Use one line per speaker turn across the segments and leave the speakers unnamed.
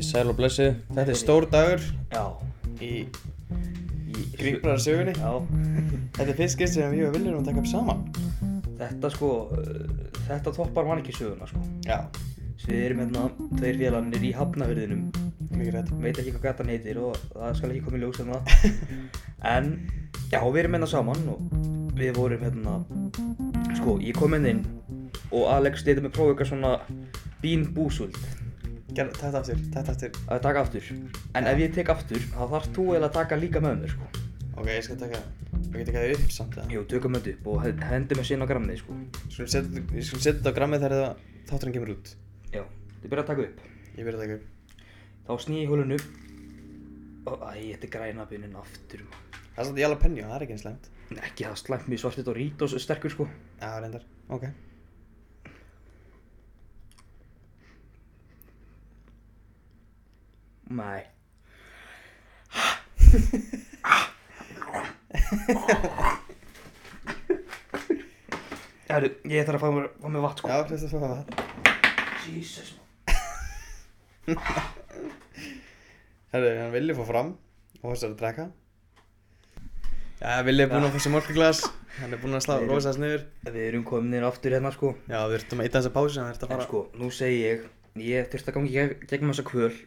Sæl og blessu, þetta er stór dagur
Já,
í, í Gríkbræðarsögunni
já,
Þetta er fyrst skil sem ég og Viljum erum að taka upp saman
þetta sko, uh, þetta toppar mann ekki söguna sko.
Já,
Svo við erum hérna tveir félagarnir í hafnafyrðinum,
mikið rétt
veit ekki hvað gatan heitir og það skal ekki koma í ljós hérna. En, já, við erum hérna saman og við vorum hérna, sko, ég kom hérna inn og Alex leita mig prófa eitthvað svona bín búsult
Gerð, Þetta aftur, þetta aftur
að taka aftur. En ef ég tek aftur, þá þarf þú eiginlega að taka líka með mér sko.
Ok, ég skal taka, ég get ekki það upp samt eða
Jú, tökum þetta upp og hendum þessi inn á grammið sko.
Skulum setja, Ég skulum setja þetta á grammið þegar það þátturinn kemur út
Já, þið byrja að taka upp.
Ég byrja að taka upp
Þá sný ég hulun upp og æ, þetta er græna byrnin aftur maður.
Það er svolítið jæla penju, það er ekki eins slæmt
Nei, Ekki það slæmt mjög svartit og rít og sterkur sko
Já, reyndar, ok
Nei Herru, ég þarf að fá mér, fá mér vatn sko
Já, Kristaf, hvað var það?
Jesus maður.
Herðu, hann viljið fór fram og hans er að drekka Já, viljið er búinn að fá sér morguglas Hann er búinn að slá,
Við erum-
rosa þess niður
Við erum kominir aftur hérna sko
Já, við ertum að ita þessa pási, hann er að
En
fara
sko, nú segi ég Ég þurfti að gangi gegn, gegnum þessa kvöl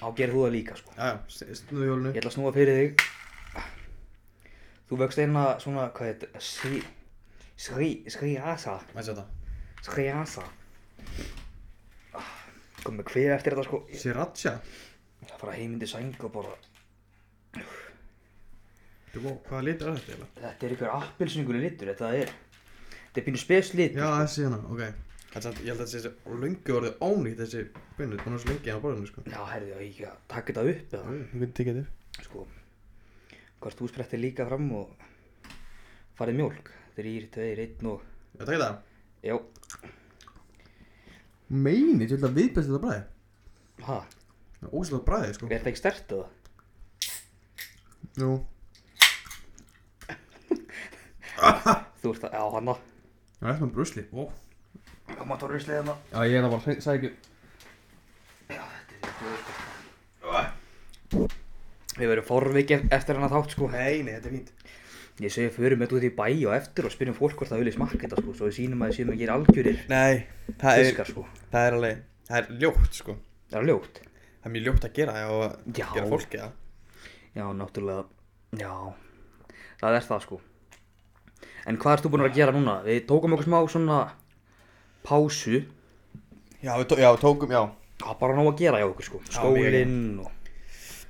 Á gerð þú það líka sko
Já, já, snúðu hjólinu
Ég ætla að snúa fyrir þig Þú vöxt einna svona, hvað heit, sri, sri, sri asa,
Mæs þetta
sri asa Kom með kveð eftir þetta sko Ég
Sriracha
ætla að fara heimindi sæng og bara
Þú, vó, hvaða litur er þetta eiginlega?
Þetta er ykkur appilsninguleg litur, þetta er Þetta er pínu spes lit
Já, þessi hérna, ok Það er samt, ég held að þessi sé löngu orðið ónýtt þessi bönnu, búin að svo lengi hérna á borðinu, sko
Já, herði, ég ekki að taka þetta upp eða
Þú getur tekið þetta upp
Sko, hvort þú sprettir líka fram og farið mjólk Þrýr, tveir, einn og
Já, takk þetta
Já,
Meini, ég held að viðbæst þetta bræði
ha,
Það er óslega bræði,
er þetta ekki stert eða?
sko Jú
Þú ert að, já, hanna
Það er eftir með brusli Ó Já,
Koma að tóra í sleðina
ég er að bara sækja
Við verðum forvikið ef- eftir hann að þátt sko
Nei, nei, þetta er fínt
Ég segi förum þetta út í bæ og eftir og spyrjum fólk hvort það vilja smakka þetta sko Svo við sýnum að við séum að gera algjörir
Nei, það er,
fiskar sko
það er alveg, það er ljótt, sko
Það er ljótt
Það er mjög ljótt að gera og að
Já.
gera fólki það
Já, náttúrulega, já, það er það sko En hvað ert þú búin að vera að gera núna? Við tókum okkur smá svona pásu
Já, við tó, já, tókum, já
Það var bara nóg að gera hjá okkur sko
mjög
Skólinn og,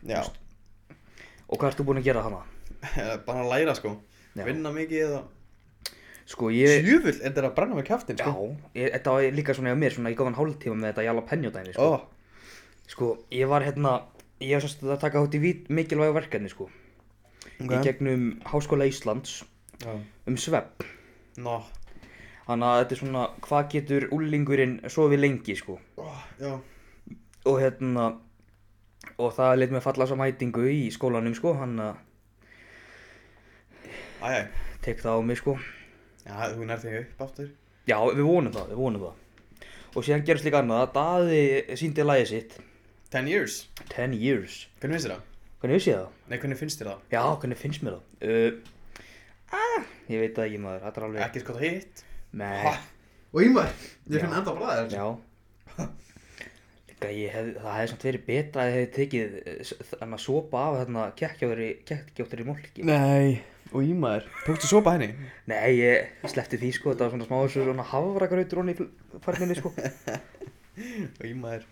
Já,
og hvað ert þú búin að gera hana?
bara að læra, sko
Já.
Vinna mikið eða
Sko ég,
Sjöfull, þetta er að brenna með kjaftin,
já,
sko
ég, þetta var líka svona hjá mér svona í góðan hálftíma með þetta jalapeno dæmi
Ó,
sko Sko, ég var hérna, ég var semst að taka hátt í vít, mikilvægu verkefni, sko.
Ok.
Í gegnum Háskóla Íslands
Já.
um svepp.
Ná.
Þannig að þetta er svona, hvað getur úlingurinn sofið lengi, sko.
Já.
Og hérna, og það leitt mig falla svo mætingu í skólanum, sko. Hann að
Æjæ.
tek það á mig, sko.
Já, þú nær þig upp aftur.
Já, við vonum það, við vonum það. Og síðan gerist líka annað að Daði síndi lagið sitt,
Ten years.
10 years.
Hvernig finnst þér það?
Hvernig vissi ég það?
Nei, hvernig finnst þér það?
Já, hvernig finnst mér það? Uh, ah, ég veit það ekki maður, þetta er alveg...
Ekki skott hitt.
Nei.
Og Ímar, ég
Já.
enda bræðið
Já Líka ég hef, það hefði samt verið betra að ég hefði tekið eh, s- þannig að sopa af þarna kekkjóttari, kekkjóttari mólki
Nei, og Ímar. Tókstu sopa henni?
Nei, ég sleppti því sko, þetta var svona smá þessu svona hafragrautur honni í farninni sko
Og Ímar.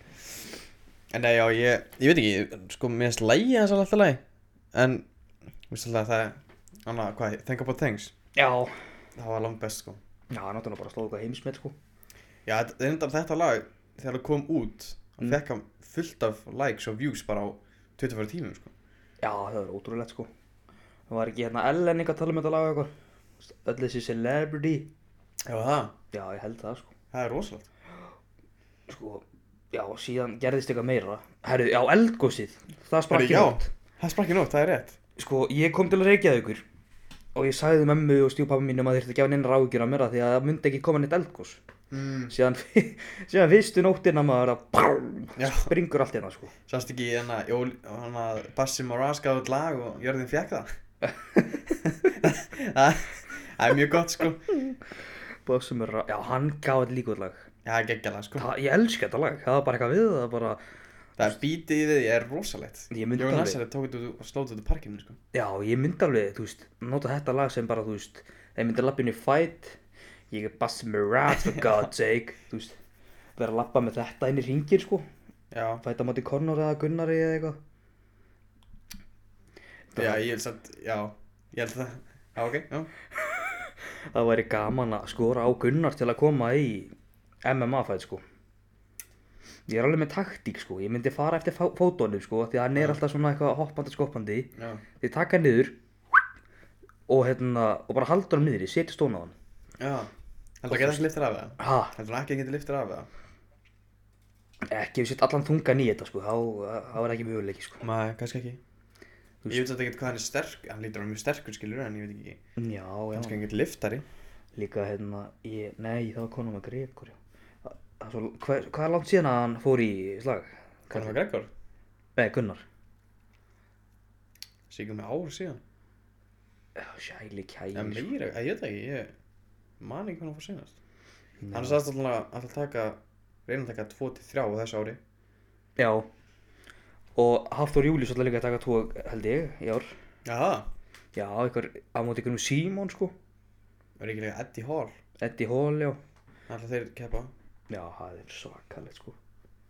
En nei, já, ég, ég veit ekki, sko, mér finnst lægi þess að alltaf lægi. En, veist alltaf að það, anna, hvað, Think About Things.
Já,
Það var langt best, sko.
já, náttúrulega bara slóðu eitthvað heimsmet sko
Já, þetta, þetta, þetta lag, þegar það kom út, mm. fekk hann fullt af likes og views bara á 24 tímum, sko.
Já, það var ótrúlegt sko Það var ekki hérna Ellen eitthvað að tala um þetta laga eitthvað Öll þessi celebrity
Já, það.
Já, ég held það sko
Það er rosalegt.
Sko, já, síðan gerðist eitthvað meira Herru, já, eldgósið Það
Herri,
sprakk í
já,
nótt.
það sprakk í nótt, það er rétt
Sko, ég kom til að reykja ykkur og ég sagði mömmu og stjúpappa mínum að þeir þurfti að gefa neina ráðugjur af mér af því að það myndi ekki koma neitt eldgós
mm.
síðan, síðan fyrstu nóttina maður að
Já.
brrrr, springur allt hérna sko
Sást ekki hérna, jól, hérna Bassi Moraz gaf út lag og Jörðin fekk það Það það er mjög gott sko
Bossum er, já hann gaf þetta líka út lag
Já, það er geggjala sko
það, ég elska þetta lag, það var bara eitthvað við það var bara,
Það er bítið í því, er rosalegt
Ég myndi
Jón
alveg.
Hassari tók þetta út og slóð þetta út úr parkinu sko
já ég myndi alveg þú veist, nota þetta lag sem bara þú veist þeir myndi lappinu í fight ég er Bossum er rat for god's sake þú veist, vera að lappa með þetta inn í ringir sko,
Já,
fæta mátti Conor eða Gunnari eða eitthvað
já, ég held satt, já, ég held það Já, ok, já
það væri gaman að skora á Gunnar til að koma í MMA fætt sko ég er alveg með taktík sko ég myndi fara eftir fá- fótunum sko því að hann er alltaf svona eitthvað hoppandi skoppandi
Já,
því taka hann niður og hérna og bara halda hann niður, setja stón á hann
já Heldur að geta ekki liftir af það?
ha,
Heldur hann ekki að geta liftir af það?
ekki við setja allan þungan í þetta sko þá þá er ekki möguleiki sko
Nei, kannski ekki Ég veit samt ekkert hvað hann er sterk, hann lítur að vera mjög sterkur skilur en ég veit ekki,
já, já,
kannski hann getur liftari
líka hérna ég, nei, það var konum að Gregor já. Það- það er svo- hvað hvað er langt síðan að hann fór í slag?
Conor McGregor,
nei, Gunnar
síkum um með ár síðan
Já, Sæli sko.
Já,
kæli
meira, ég veit það ekki, ég man ekki hvernig hann fór senast
Nei.
Hann sagðist alltaf að alltaf taka, reyna að taka 2-3 á þessu ári
Já Og Hafþór Július alltaf líka að taka tvo held ég í ár
Jaha,
Já, ykkur á móti ykkur um Simon sko
verður ekki líka Eddie Hall
Eddie Hall, já
Alltaf þeir keppa
Já, það er svakalegt sko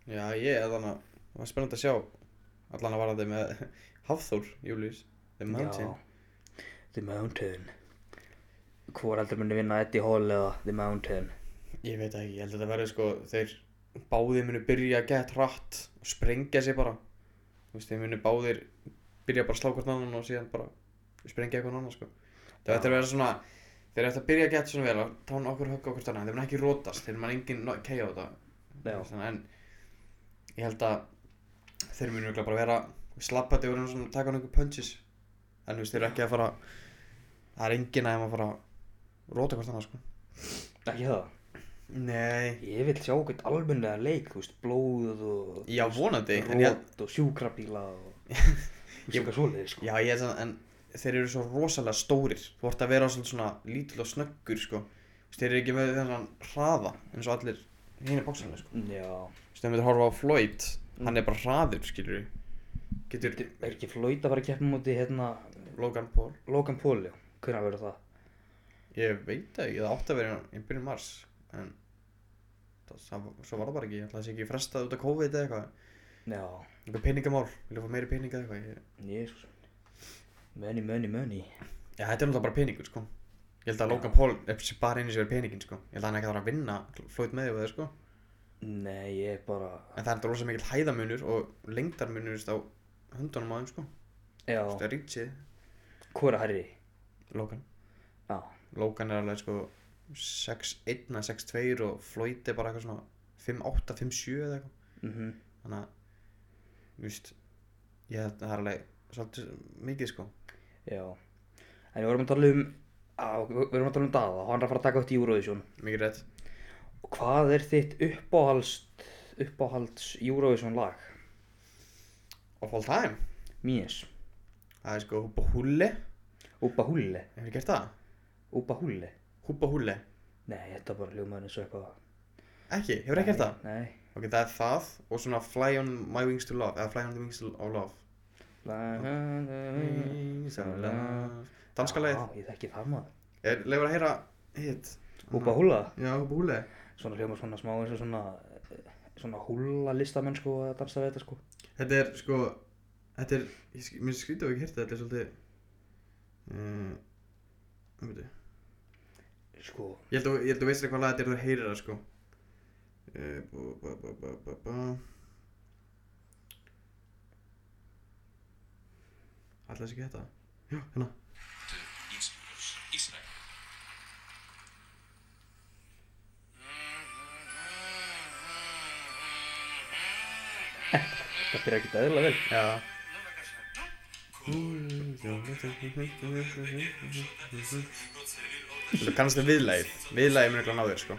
Já, ég er þannig að, það var spennandi að sjá Allan að vara þeim með Hafþór, Július The Mountain
Já, The Mountain Hvor heldur myndi vinna Eddie Hall eða The Mountain
Ég veit það ekki, ég held að þetta verður sko, þeir báðir munu byrja að geta hratt og sprengja sig bara Þú veist, þeir munu báðir byrja bara að slá hvort annan og síðan bara sprengja eitthvað annan sko Það ætti að vera svona, þeir ætti að byrja að geta svona vel að tána okkur högg okkur annan, þeir munu ekki rótast, þeir munu engin keia á þetta
Já.
Þannig, En ég held að þeir munu örugglega bara vera slappandi og reyna svona að taka hann einhver punches En þú veist, þeir eru ekki að fara, það er engin að þeim að fara að róta hvort annan sko
Ekki það
Nei,
Ég vil sjá okkur almennilega leik, þú veist, blóð og
Já, vonandi, en ég,
Rót og sjúkrabíla og Þú veist,
Ég-
eitthvað svoleiðis sko
já, ég er þannig, en þeir eru svo rosalega stórir, þú ert að vera svolítið svona lítill og snöggur, sko, Þú veist, þeir eru ekki með þessan hraða eins og allir hinir bóksarlega, sko,
Já
Þú veist, þegar við horfa á Floyd, hann er bara hraður, skilur við, getur
Er ekki flöyt að fara að keppa móti hérna
Logan Paul,
Logan Paul, já Hvernig verður það?
ég veit það ekki, það átti að vera í byrjun mars, en það, það, svo var það bara ekki, ég ætla að sé ekki frestað út af COVID eða eitthvað,
Já,
eitthvað peningamál, vilja fá meiri peninga eða eitthvað, ég,
jésus Money, money, money
já, þetta er náttúrulega bara peningur, sko, ég held að Logan Paul er bara einu sem er peningin, sko, ég held að hann er ekki að fara að vinna Floyd Mayweather, sko,
Nei, ég er bara
En það er þetta rosa mikill hæðamunur og lengdarmunur veist, á höndunum á þeim sko Þú
Já,
veist, að Richie,
hvora herri
Logan
Já,
Logan er alveg sko 6-1 eða 6-2 og Floyd er bara eitthvað svona 5-8, 5-7 eða eitthvað
mhm
Þannig að, þú veist, ég held að það er alveg svolítið mikið sko
Já En við vorum að tala um á, Við vorum að tala um Dada og hann er að fara að taka upp í Eurovision
Mikið rétt
Og hvað er þitt uppáhalds uppáhalds Eurovision lag?
Of all time
Mínis
Það er sko Húpa Húlle
Úpa húlle
Hefur gert það?
Úpa húlle
Húpa Húlle
Nei, þetta er bara ljómaður eins og eitthvað
Ekki, hefur ekki gert það?
Nei
Ok, það er það og svona Fly on my wings to love eða Fly on the wings to- of love
Nei
Wings of love Danska lagið
Já, ég þekki það maður
Er, leifur að heyra hitt?
Úpa húlla
Já, búle.
svona hljóma svona smá eins og svona eh, svona húla listamenn sko að dansa við þetta sko
Þetta er sko, þetta er, ég, sk- mér skrítið að ekki hirta, þetta er svolítið, um, veitu,
sko
ég held að, ég held að veist eitthvað lag þetta er þú heyrir það sko. Eh, bú- bú- bú- bú- bú- bú. Ætli þess ekki þetta? Já, hérna.
það byrja ekki eðla vel
Já. Þú kannast það viðlægið, viðlægið mun eitthvað ná þér sko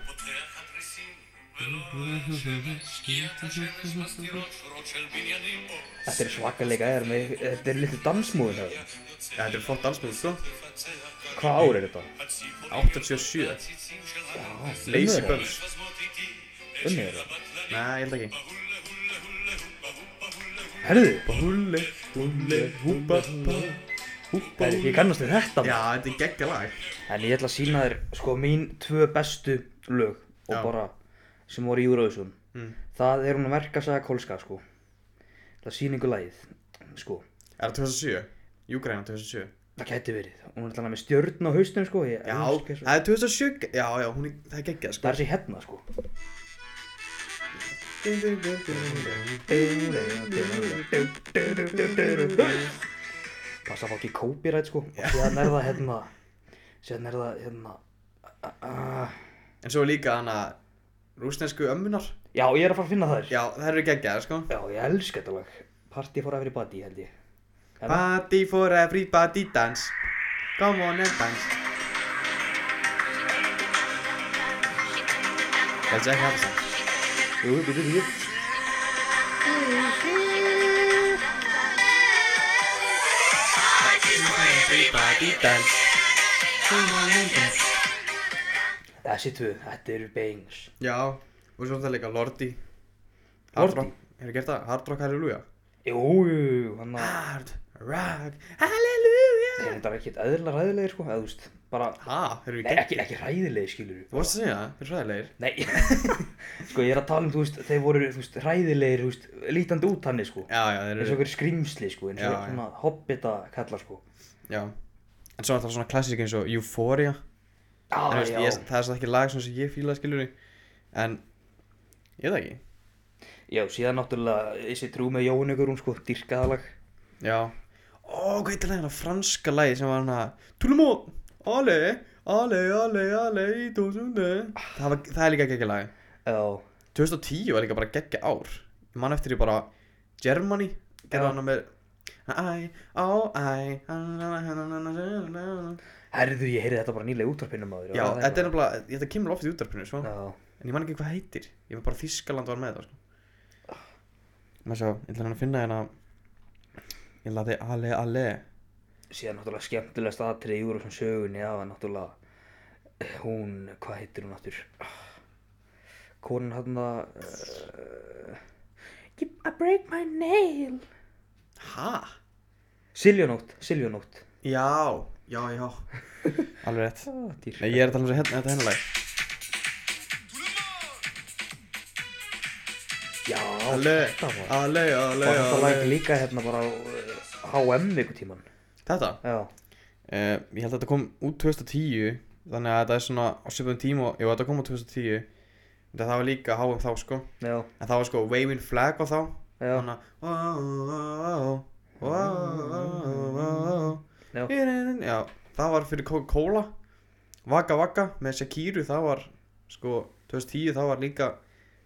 Þetta er svakalega gæðar með, þetta er litlu dansmúðin hefur.
Já, þetta er flott dansmið sko
Hvað ár er þetta?
87 Lazy Bugs
Unnið þetta?
Nei, ég held ekki
Herðu,
Húli, húli, húpa, húpa Húpa,
herðu, ég kannast við þetta.
Já, þetta er geggja lag
En ég ætla að sína þér, sko, mín tvö bestu lög og
Já.
bara, sem voru í Eurovision.
Mm.
Það er hún að verka saga Kolska, sko. Það er síningu lagið, sko.
Er það 2007? Júgræna 2007
Það gæti verið. Hún er alltaf með stjörn á haustum, sko. Ég,
Já,
elska þessa-
það er 2007 Já, já, hún er, það er geggja
Það
sko
er þessi hérna, sko. Passa að fá ekki copyright, sko. Og séðan er það, hérna, séðan er það, hérna, uh,
En svo er líka hana Rúsnesku ömmunar
já, ég er að fara að finna þær.
Já, það eru geggjaðar sko
Já, ég elska þetta lag. Party for every body, held ég. Hérna,
Party for everybody dance Come on and dance Það er ekki hægt það
jú, byrju, byrju.
Everybody dance Come on and dance
Þessi tvö, þetta eru bangs.
Já, og svo er það líka Lordi
Lordi?
Hefur gert það? Hard Rock Hallelujah
Jú, jú, jú, hann að,
Hard Rock Hallelujah
þeir þetta er ekkert eðlilega ræðilegir, sko, eða þú veist, bara,
Ha, þeir eru
nei,
geggjaðar
ekki, ekki ræðilegir, skilur
Þú varst að segja það, þeir eru fræðilegir
Nei, sko, ég er að tala um, þú veist, þeir voru, þú veist, ræðilegir, þú veist, lítandi út hann, sko.
Já, já, þeir
Eins og
eru
okkur skrimsli, sko, eins og
Já, já.
svona hobbita kalla, sko.
Já En svo er það svona klassík eins og Euphoria
Já,
En þú veist,
Ah, já,
ég, það er svo ekki lag svona sem ég fíla skilur En Ég veit það ekki
já, síðan náttúrulega, þessi trú með Jóhann ykkur, hún, sko, dyrkaðalag.
Já Ó, hvað heitir það hérna franska lagi sem var hérna Tulumó, ale, ale, ale, ale, í dósunde það, var- það er líka geggja lagi
Já,
2010 var líka bara geggja ár Ég man eftir ég bara Germany
Já.
Gerða hana með Æ, á, æ Já,
herðu, ég heyrði þetta bara nýlega í útvarpinum maður.
þetta er nefnilega Þetta kemur oft í útdarpinu, svo
Já,
En ég man ekki hvað heitir Ég var bara Þískaland var með það sko. Maður sjá, ég ætla hann að finna hérna Ég laði ale, ale
síðan náttúrulega skemmtilegast aðtrið í Eurovision sögunni það var náttúrulega eh, hún, hvað heitir hún aftur Ah. konan hann að I break my nail
Hæ?
Siljónótt, Siljónótt
Já, já, já Alveg rétt
Ah,
Nei,
Nei,
ég er að tala um þessu hérna, þetta hennalag
Já,
Ale,
þetta var
ale, ale,
og þetta lag
ale
líka hérna bara á eh, HM ykkur tíman
Þetta,
Já,
uh, ég held að þetta kom út 2010 Þannig að þetta er svona á svipum tíma og- Jú, þetta kom út 2010 Þetta það var líka háum þá, sko
já,
En það var sko waving flag á þá
já,
Þannig að wow, wow, wow, wow,
Já.
wow. Já, það var fyrir Coca-Cola Vaka Vaka með Shakiru það var sko 2010 það var líka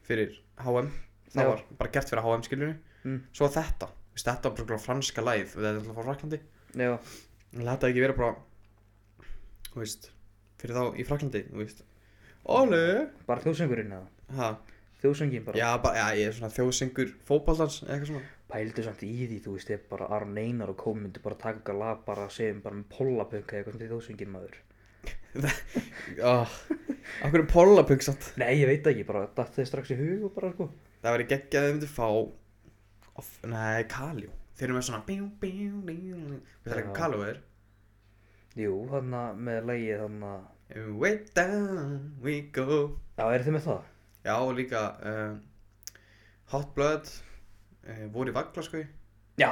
fyrir HM það
Já.
var bara gert fyrir HM skiljunni
Mm.
svo þetta, Vist, þetta var bara franska læð við þetta er frá Fraklandi
já
þetta ekki verið bara þú veist, fyrir þá í Fraklandi þú veist Ólu
bara þjóðsöngurinn eða
ha,
þjóðsöngin bara,
já, bara, já, ég er svona þjóðsengur fótballtans eitthvað svona
pældu samt í því þú veist, ef bara Aron Einar og Kómi myndi bara taka eitthvað lag bara að segja um bara með pollapönka eða eitthvað sem þjóðsöngin maður
oh, Akkur er pólapung samt
Nei, ég veit það ekki, bara datt þið strax í hug og bara sko
Það væri geggjað að þau myndu fá of, Nei, Kaljó Þeir eru með svona bíu, bíu, bíu, bíu. Við það er
Já.
eitthvað Kaljó er
Jú, þannig að með lægið þannig að
Way down we go
Já, er þið með það?
Já, og líka uh, Hot Blood uh, Voru í vagla sko
Já,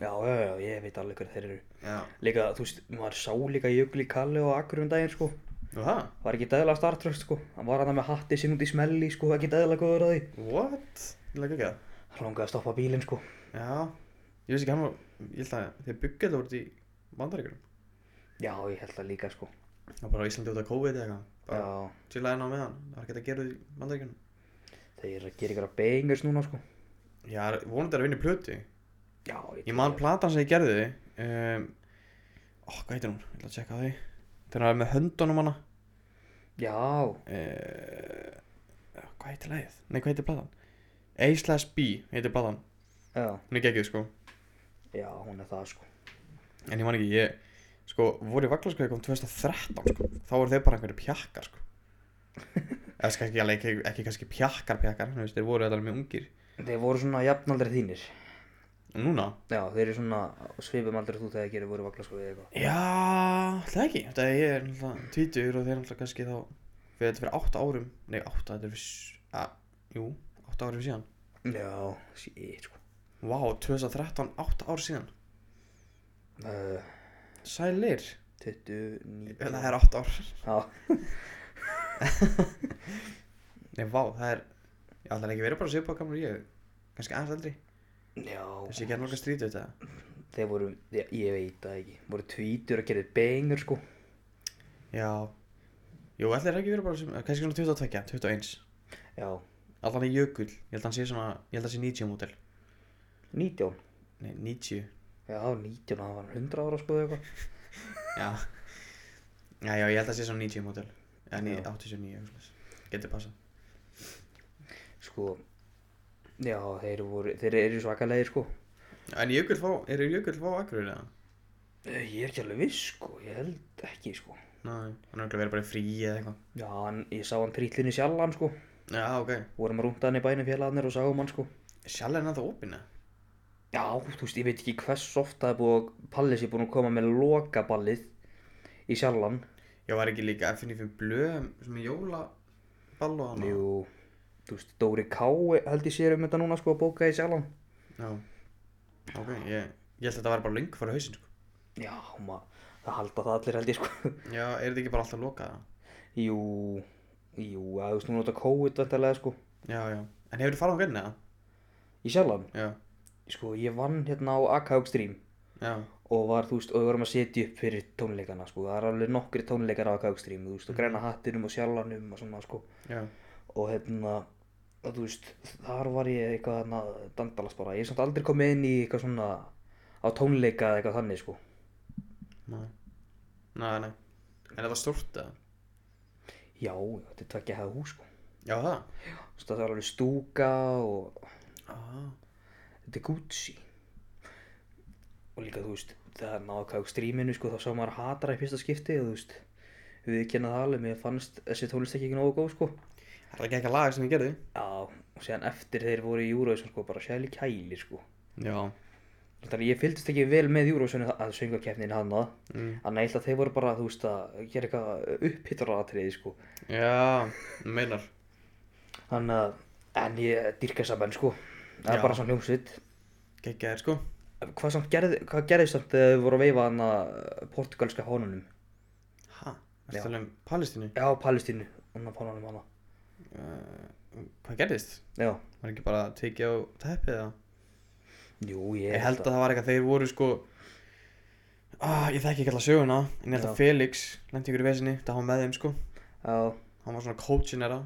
já, já, já, ég veit alveg hver þeir eru
Já,
Líka, þú veist, maður sá líka Jökli Kalli og Akkur um daginn sko
og það?
Var ekki dæðilega startröst sko Hann var hann með hatti sinn út í smelli sko, ekki dæðilega góður að því
What? Það er geggjað
Hann langaði að stoppa bílinn sko
Já, ég veist ekki hann var Ég held að þeir byggja þetta voru í bandaríkurum
Já, ég held það líka sko
Það var bara á Íslandi út af COVID eða eitthvað Bara
Já,
chillaði hann á með hann Það var ekki hægt að gera þetta í bandaríkurum
þeir eru að gera ykkur að bengast núna sko
Já, vonandi er að vinna í plöti
Já,
Ég man platan sem ég gerði um, ó, hvað heitir hún? Ég ætla að tjekka því þegar hann er með höndunum hana
Já,
uh, hvað heitir lagið? Nei, hvað heitir platan? A slash B heitir platan
já,
hún er geggið sko
já, hún er það sko.
en ég man ekki, ég sko, voru í vaglaskveið kom 2013 sko þá voru þeir bara einhverju pjakkar sko eða sko, ekki, alveg- ekki, ekki kannski pjakkar pjakkar þú veist, þeir voru þetta alveg mjög ungir
Þeir voru svona jafnaldri þínir.
En núna,
Já, þeir eru svona á svipum aldrei þú þegar gerir voru vaglaskofið eða eitthvað.
Já, það ekki, þetta er ég er náttúrulega tvítur og þeir náttúrulega kannski þá við þetta fyrir 8 árum, nei 8, þetta er fyrir, s- að, jú, 8 árum síðan
Já, shit sko.
Vá, 2013, 8 ár síðan,
Uh,
sælir,
29.
það er 8 ár,
Já,
nei vá, það er, já það er ekki verið bara að svipa gamla og ég, kannski aðeins eldri,
já.
þessi ekki er náttúrulega strítið þetta
Þeir voru, já, ég veit það ekki, voru tvítur að gera bengur sko.
Já, jú, ætli er ekki verið bara, sem, kannski svona 22, 21,
Já,
allan er jökul, ég held að hann sé svona, ég held að hann sé 90 mótel,
19.
nei 90
Já, 19, það var 100 ára sko eða eitthvað.
Já Já, já, ég held að það sé svona 90 mótel Eða ní-
Já.
89, eitthvað svoleiðis. getur passa
Sko, já, þeir voru, þeir eru svakalegir sko.
En Jökull fá, eru Jökull fá akkurir eða?
Eh, Ég er ekki alveg viss sko, ég held ekki sko.
Nei, hann er ekki að vera bara í frí eða eitthvað
Já, hann, ég sá hann trýtlinni sjallan sko.
Já, ok
Vorum að rúnda hann í bænum félagarnir og sáum hann sko.
Sjálf er hann það opinn eða?
Já, þú veist, ég veit ekki hvers oft það er búið að Pallis er búin að koma með lokaballið í sjallan.
Já, var ekki líka FNF blöðum sem er jólaball og hann
Jú, þú veist, Dóri K. held ég sér um þetta núna sko að bóka í sjallan.
Já Ok, ég, ég held að þetta var bara lengur fyrir hausinn sko
Já, maður, það halda það allir held ég sko.
Já, er þetta ekki bara alltaf lokað eða?
jú, jú, að þú veist, núna þetta COVID vantarlega sko.
Já, já En hefur þið farað á hvernig eða?
Í sjallan,
Já,
sko, ég vann hérna á AKH Stream.
já
og var, þú veist, og við vorum að setja upp fyrir tónleikana, sko, það er alveg nokkri tónleikar á Kaukstrím, þú veist, og græna hattinum og sjallanum og svona, sko,
Já,
og hérna, og, þú veist, þar var ég eitthvað, þarna, dandalast bara, ég er samt aldrei komið inn í eitthvað svona, á tónleika eða eitthvað þannig, sko,
nei Nei, nei En þetta var stórt eða?
já, þetta er tvekja hefða hús, sko,
Já, það
þú veist, það er alveg stúka og,
Ah,
þetta er Gucci, og líka, þú veist, það er náðu Kaukstríminu, sko, þá sá maður hatara í fyrsta skipti, og, þú veist, við kennum það alveg, mér fannst þessi tónlist ekki nógu góð, sko.
Það er ekki eitthvað lag sem ég gerði
Já, og síðan eftir þeir voru í Eurovision sko, bara sjæli kæli sko.
Já
Þannig að ég fylgdist ekki vel með Eurovision að söngakefnin hann að,
mm.
þannig að ég held að þeir voru bara, þú veist, að gera eitthvað upphittraratriði sko.
Já, um þú meinar
Þannig að, en ég dyrka saman sko,
Já.
það er bara svona hljómsveit.
Gekkið er sko
Hvað, samt gerði, hvað gerðist samt þegar þau voru að veifa hann að portugalska fánunum?
Hæ? Það
Já.
er tala um Palestínu
Já, Palestínu, hann að fánunum hann að.
uh, Hvað gerðist?
Já,
Var ekki bara að tekið á teppið eða?
jú, ég,
Ég held að það var eitthvað þeir voru sko ah, Ég þekki ekki alltaf söguna En ég held að
Já.
Felix lendi ykkur í vesinni Það var með þeim sko
Já,
Hann var svona coachin þeirra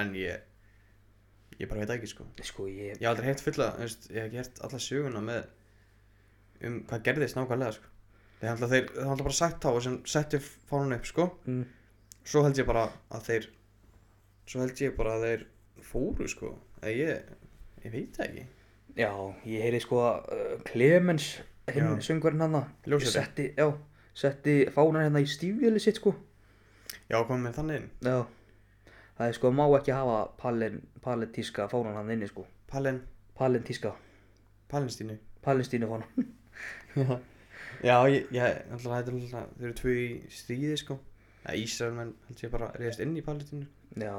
En ég Ég bara veit það ekki sko
sko, ég,
Ég hef aldrei heitt fulla þú veist, Ég hef ekki hert alla söguna með Um hvað gerðist nákvæmlega sko Þeir handla, þeir, þeir handla bara sagt þá og sem settu fánun upp sko
mm,
svo held ég bara að þeir svo held ég bara að þeir fóru sko eða ég, ég veit það ekki
Já, ég heyri sko að uh, Clemens, hinn
Já.
söngvarinn hann
Ljósari.
setti, já, setti fánar hérna í stífjöli sitt sko
já komið með þannig inn,
Já, það er sko, má ekki hafa palin, palentíska fánar hann inni sko
Palen,
Palentíska,
Palenstínu
palestínu fánar
já, ég, ég alltaf þetta er alltaf þeir eru tvö í stríði sko eða Ísraelmenn held ég bara reyðast inn í Palestínu
Já,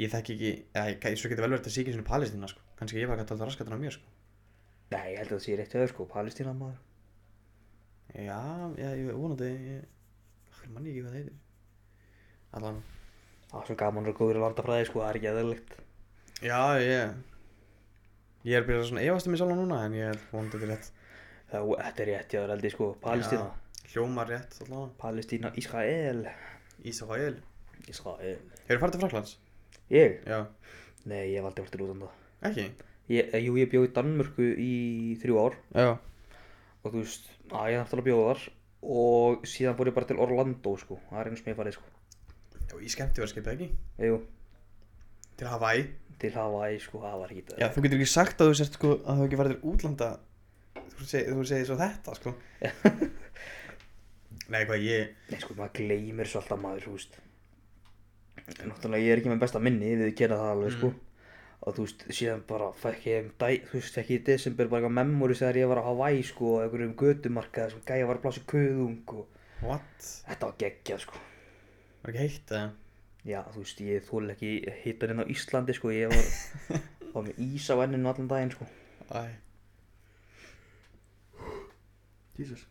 ég þekki ekki, eða ég- svo getur vel verið að sé ekki svona Palestína sko, kannski ég bara gæti alltaf raskatina á mér sko
nei, ég held að það sé rétt höfður sko, palestína maður
já, já, ég vonandi ég, okkur manni ekki hvað það heitir allan,
Það er svo gaman og góður að landa fræði sko, það er ekki aðeðlegt
já, ég ég er byrjað að svona efast um mig sjálf núna en ég held vonandi þetta er rétt
Það, þetta er rétt, já, það er aldrei sko, palestína
Hljómar rétt allavega
Palestína, Ísrael
Ísrael
Ísrael
Hefur farið til Fraklands?
Ég?
Já
Nei, ég hef aldrei vartur út um það
Ekki?
Ég, jú, ég bjóð í Danmörku í þrjú ár
Já
og þú veist, að ég þarf til að bjóða þar og síðan fór ég bara til Orlando sko, það er einu sem ég hef farið sko Eh,
Já, ég skemmti var skipið ekki
Jú,
Til Hawaii
til Hawaii sko, það var ekki það
Já, þú getur ekki sagt að þú sért sko að þú ekki farið til útlanda Þú segir, þú segir svo þetta sko Nei, hvað ég
Nei sko, maður gleymir svo alltaf maður, þú veist Náttúrulega ég er ekki með besta minni, við gera það alveg sko Og þú veist, síðan bara fekk ég um dæ, þú veist, fekk ég í desember bara eitthvað memories þegar ég var á Hawaii sko Og einhverjum götumarkaði sem gæja var að blása í köðung og
What?
Þetta var geggjað sko
Var ekki heitt eða?
Já, þú veist, ég þóli ekki hitan inn á Íslandi sko Ég var, var með ís á enninu allan daginn sko
Æ Jesus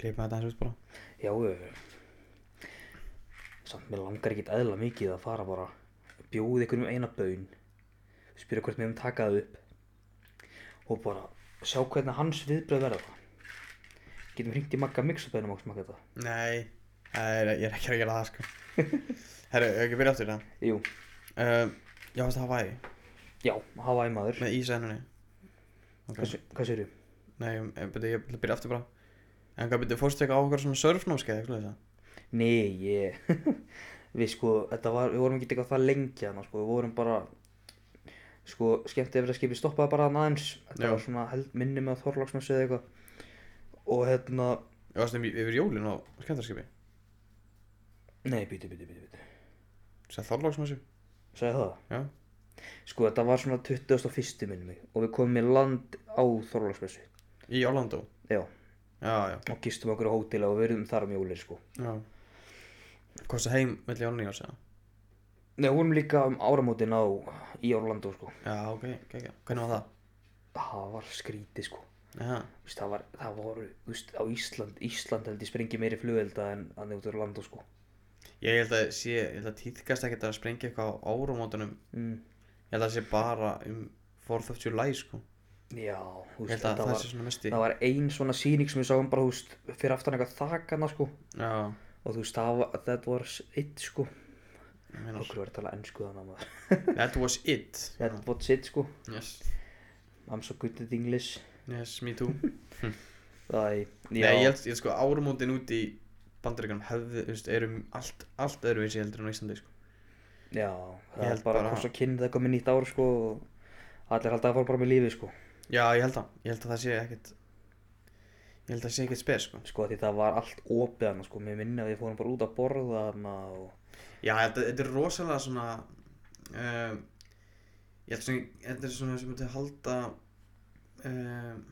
Klipa þetta eins og bara
Já, já, já. samt mér langar ekkit eðla mikið að fara bara bjóða ykkur um eina bön spyrja hvort mér um taka það upp og bara sjá hvernig hans viðbröð verða það getum hringt í Magga Mix og beðnum okkur smakka þetta
Nei Það er, ég er ekki að gera það sko Herru, hefur ekki byrjað aftur það
Jú,
uh, Já, veist það Hawaii
já, hafa í maður
Með ísa hennunni Ok
Hvað, se- hvað sérðu?
Nei, ég, ég, byrja, ég byrja aftur bara En hvað byrja, fórstu eitthvað á okkur svona surfnóskeið eitthvað þess að
Nei, ég Við sko, þetta var, við vorum ekki eitthvað það lengi hana, sko, við vorum bara sko, skemmt yfir að skipi stoppaði bara hann aðeins þetta
Já.
var svona held, minni með Þorláksmessu eða eitthvað og hérna,
Ég varst um í- yfir jólin á skemmtarskipi
nei, býti, býti, býti, býti
Sæð þorláksmessu
Sæði það?
Já.
Sko þetta var svona 21. minni mig og við komum í land á Þorlagsmessu.
Í Orlando
Já,
Já, já,
og gistum okkur á hótela og verðum þar um jólinn sko.
já Kosta heim milli ánni á sig
Nei, við vorum líka um áramótin á í Orlando sko.
Já, ok, ok, ok Hvernig var það?
Það var skrítið sko.
Já,
Þú Veist, það, var, það voru, þú veist, á Ísland, Ísland held ég sprengi meiri flugelda en að þið út á Orlando sko.
ég held að sé, ég held að tíðkast ekkert að sprengja eitthvað á árumótunum
Mm.
Ég held að sé bara um 4th of July, sko
Já, þú
Ég
veist,
held að
þetta
það
var,
sé svona mesti
það var ein svona sýning sem við sáum bara, þú veist, fyrir aftan eitthvað þakana sko.
Já,
Og þú veist, það var, that was it sko.
ég meina
Okkur var að tala ennsku þannig að maður.
That was it
That was it sko.
Yes,
I'm so good at English
yes, me too
Æ, já,
Nei, ég held, ég held sko árumótin út í bandaríkanum hefði, þú veist, erum allt, allt öðruvísi heldur en á Íslandi, sko
já, það
ég
er
held
bara
bara-
hvort svo kynni það komið nýtt ár sko og allir haldið að fara bara með lífi sko
Já, ég held það, ég held að það sé ekkert Ég held að það sé ekkert spes, sko
sko því það var allt opið hann sko, mér minna að við fórum bara út að borða hann og
Já, þetta, þetta er rosalega svona um, Ég held svona Þetta er svona sem þetta halda um,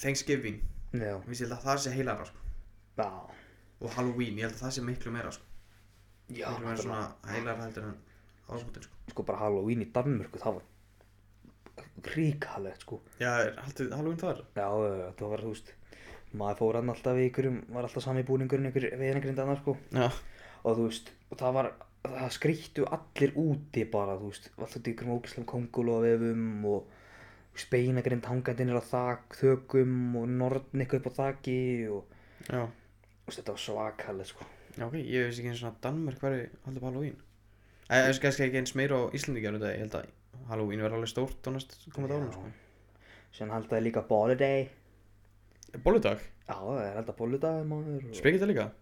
Thanksgiving
já,
Ég held að það sé heilara sko.
já,
Og Halloween, ég held að það sé miklu meira sko.
já
Miklu meira
bara-
svona heilara heldur en ásmútin sko.
sko bara Halloween í Danmörku, það var ríkalegt sko
Já, er haldið Halloween þar?
já, já, það var þú veist maður fór hann alltaf í ykkurum, var alltaf sami búningurinn ykkur við henni grinda hann sko
Já
og þú veist, og það var það skrýttu allir úti bara þú veist, alltaf til ykkur ógislega kongulofefum og speinagrind hangandi nýra þak, þökum og norn eitthvað upp á þaki og
Já,
þú veist, þetta var svakalega sko
Já, ok, ég veist ekki eins og Danmörk væri haldið upp Halloween Það er kannski ekki eins meira á Íslendingar Ég held að Halloween verði alveg stórt á næst komandi árum sko.
sem haldaði líka bóludag já,
Bóludag,
það er held að bóludag maður og...
spekir þetta líka?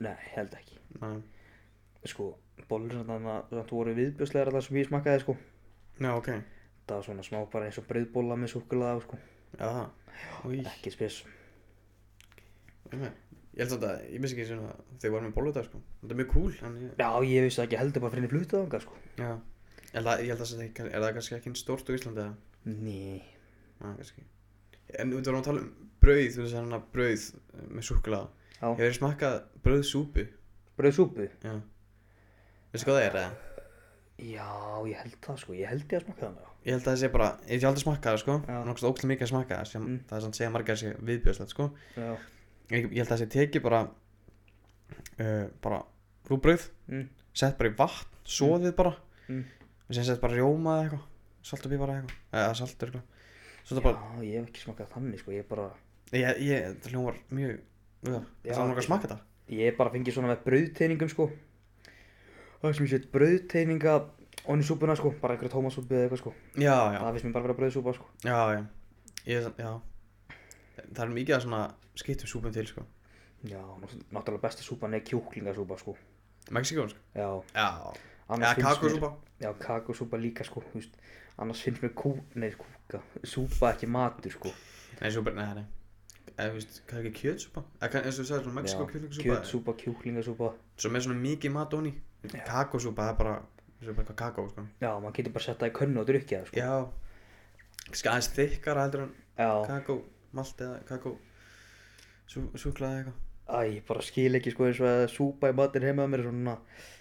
nei, held ekki
Nei
sko, bólur þannig að það voru viðbjörslegar það sem ég smakkaði sko
Já, ok
það var svona smá bara eins og brauðbóla með súkulega sko,
Já, új,
ekki spes
ég með Ég held samt að, ég missi ekki svona, þeir voru með bóludag sko Þetta er mjög cool, en ég,
já, ég vissi það ekki heldur bara fyrir henni flutað þangað sko
já Ég held að, ég held að þetta, ekki- er það kannski ekki eins stórt á Íslandi eða?
ný,
Já, kannski En við vorum að tala um brauð, þú veist hérna brauð eh, með súkkulaða
Já.
Hefur smakkað brauðsúpu,
brauðsúpu
já Veistu hvað það er, eða?
Já, ég held það sko, ég held ég að smaka það með
Ég held að það sé bara, ég hef aldrei smakkað það sko
Já.
Nókst ókslega mikið að smakka það, sem
Mm.
það er samt segja margar sé viðbjöðslegt sko
Já,
Ég, ég held að það sé tekið bara, uh, bara rúbrauð
mm,
sett bara í vatn, soðið bara
Mm.
og sem sett bara rjóma eða eitthvað salt og pípar eða eitthvað, eða salt eða eitthvað svo það bara,
já, ég hef ekki smakað þannig sko, ég bara
ég, ég, þetta hljómar mjög já,
Já,
það var nokkað að
ég-
smaka þetta
Ég hef bara fengið svona með brauðteiningum sko Það er sem ég set brauðteininga onni súpuna sko, bara einhverja tómasúpu eða eitthvað sko
já, já,
Það finnst mér bara vera brauðsúpa sko
já, já Ég, er samt- já Það er mikið að svona skiptum súpum til sko
Já, náttúrulega besta súpan er kjúklingasúpa sko
Mexikón sko
Já,
Já
annars
Já,
finnst mér-
kakosúpa
Já, kakosúpa líka sko, þú veist Annars finnst mér kú, nei kúka, súpa ekki matur sko
Nei, súpa, nei, nei Eða, þú veist, hvað er ekki kjötsúpa? Eða, kann- eins og þú sagði, svona Mexiko
Já,
kjötsúpa
Kjötsúpa, kjúklingasúpa
Svo með svona mikið mat onni Kakosúpa, það er bara Það er bara eitthvað kakó, sko
Já, maður getur bara sett það í könnu og drukja það sko
Já Ska aðeins þykkara heldur en
Já,
kakó Malt eða kakó Súklaði eitthvað
æ, ég bara skil ekki sko eins og að súpa í matin heima að mér er svona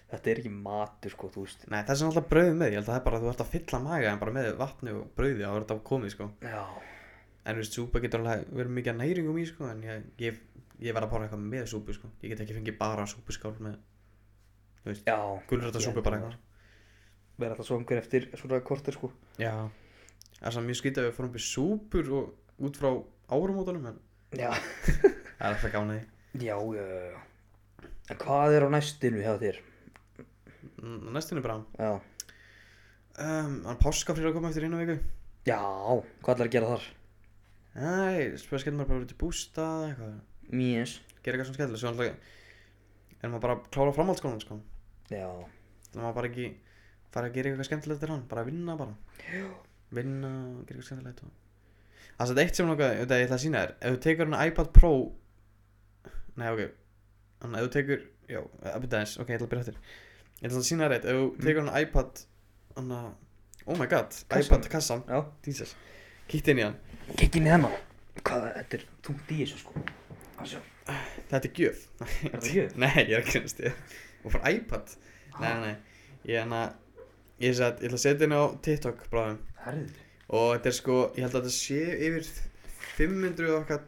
Þetta er ekki matur sko, þú veist
Nei, það er svona alltaf brauðið með, ég held að það er bara að þú ert að fylla maga en bara með vatni og brauði og það er þetta komið, sko.
Já,
En þú veist, súpa getur alveg verið mikið af næringum í, sko, en ég, ég, ég verð að bara eitthvað með súpu, sko. Ég get ekki fengið bara súpuskál með
já
gulrætasúpu bara eitthvað.
Verða alltaf svangur eftir svona kortir sko
Já. Það er svona mjög skrítið að við fórum upp í súpur og út frá árumótunum, en
Já,
það er alltaf gánaði.
já, já, já, já En hvað er á næstinu hjá þér?
Næstin er bara,
Já,
um, hann páskafrýra að koma eftir einu viku.
já, hvað ætlar að gera þar?
Nei, spes getur maður bara verið til bústað, eitthvað,
Mjöns
gera eitthvað svona skemmtilega, svo alltaf er maður bara að klára framhaldsskólan, sko.
Já,
þannig að maður bara ekki fara að gera eitthvað skemmtilegt til hann, bara að vinna bara vinna, gera eitthvað skemmtilegt og... það er satt eitt sem nokkuð, ég ætla að sína þér ef þú tekur hann iPad Pro nei ok, hann ef þú tekur já, að byrja þess, ok, ég ætla að byrja eftir ég ætla að sína þér eitt, ef þú tekur hann iPad hann að, oh my god
Kassan.
iPad kassan,
já
Jesus kíkti inn í hann,
Kikkin í hennar Hvað, þetta er tungt í þessu sko Þessu
þetta er gjöf
Er þetta gjöf?
nei, ég er ekki hans til og frá iPad, nei, nei, nei ég hann að, ég, satt, ég ætla að setja henni á TikTok bráðum
Herðið
og þetta er sko, ég held að þetta sé yfir 500 og okkar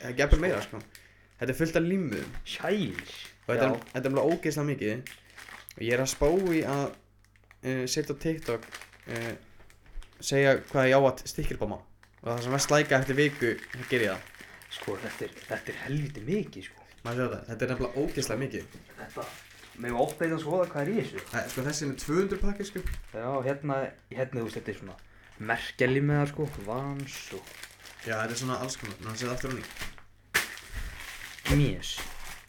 eða gefur meira sko þetta er fullt af límuðum
Sæls
og þetta er, þetta er alveg ógeðslega mikið og ég er að spá í að uh, setja á TikTok uh, segja hvað ég á að stikkilbáma og það sem verðst læka eftir viku þá ger ég það
Sko, þetta er, þetta er helviti mikið sko
maður sér þetta, þetta er nefnilega ógeðslega mikið
Þetta Mér var opnið að hérna skoða hvað er í þessu
það, sko þessi er með 200 pakkir sko
Já, hérna, hérna þú veist þetta er svona Merkjali með það sko, vans og
já þetta er svona alls konar, þannig að setja aftur á ný
Mjöns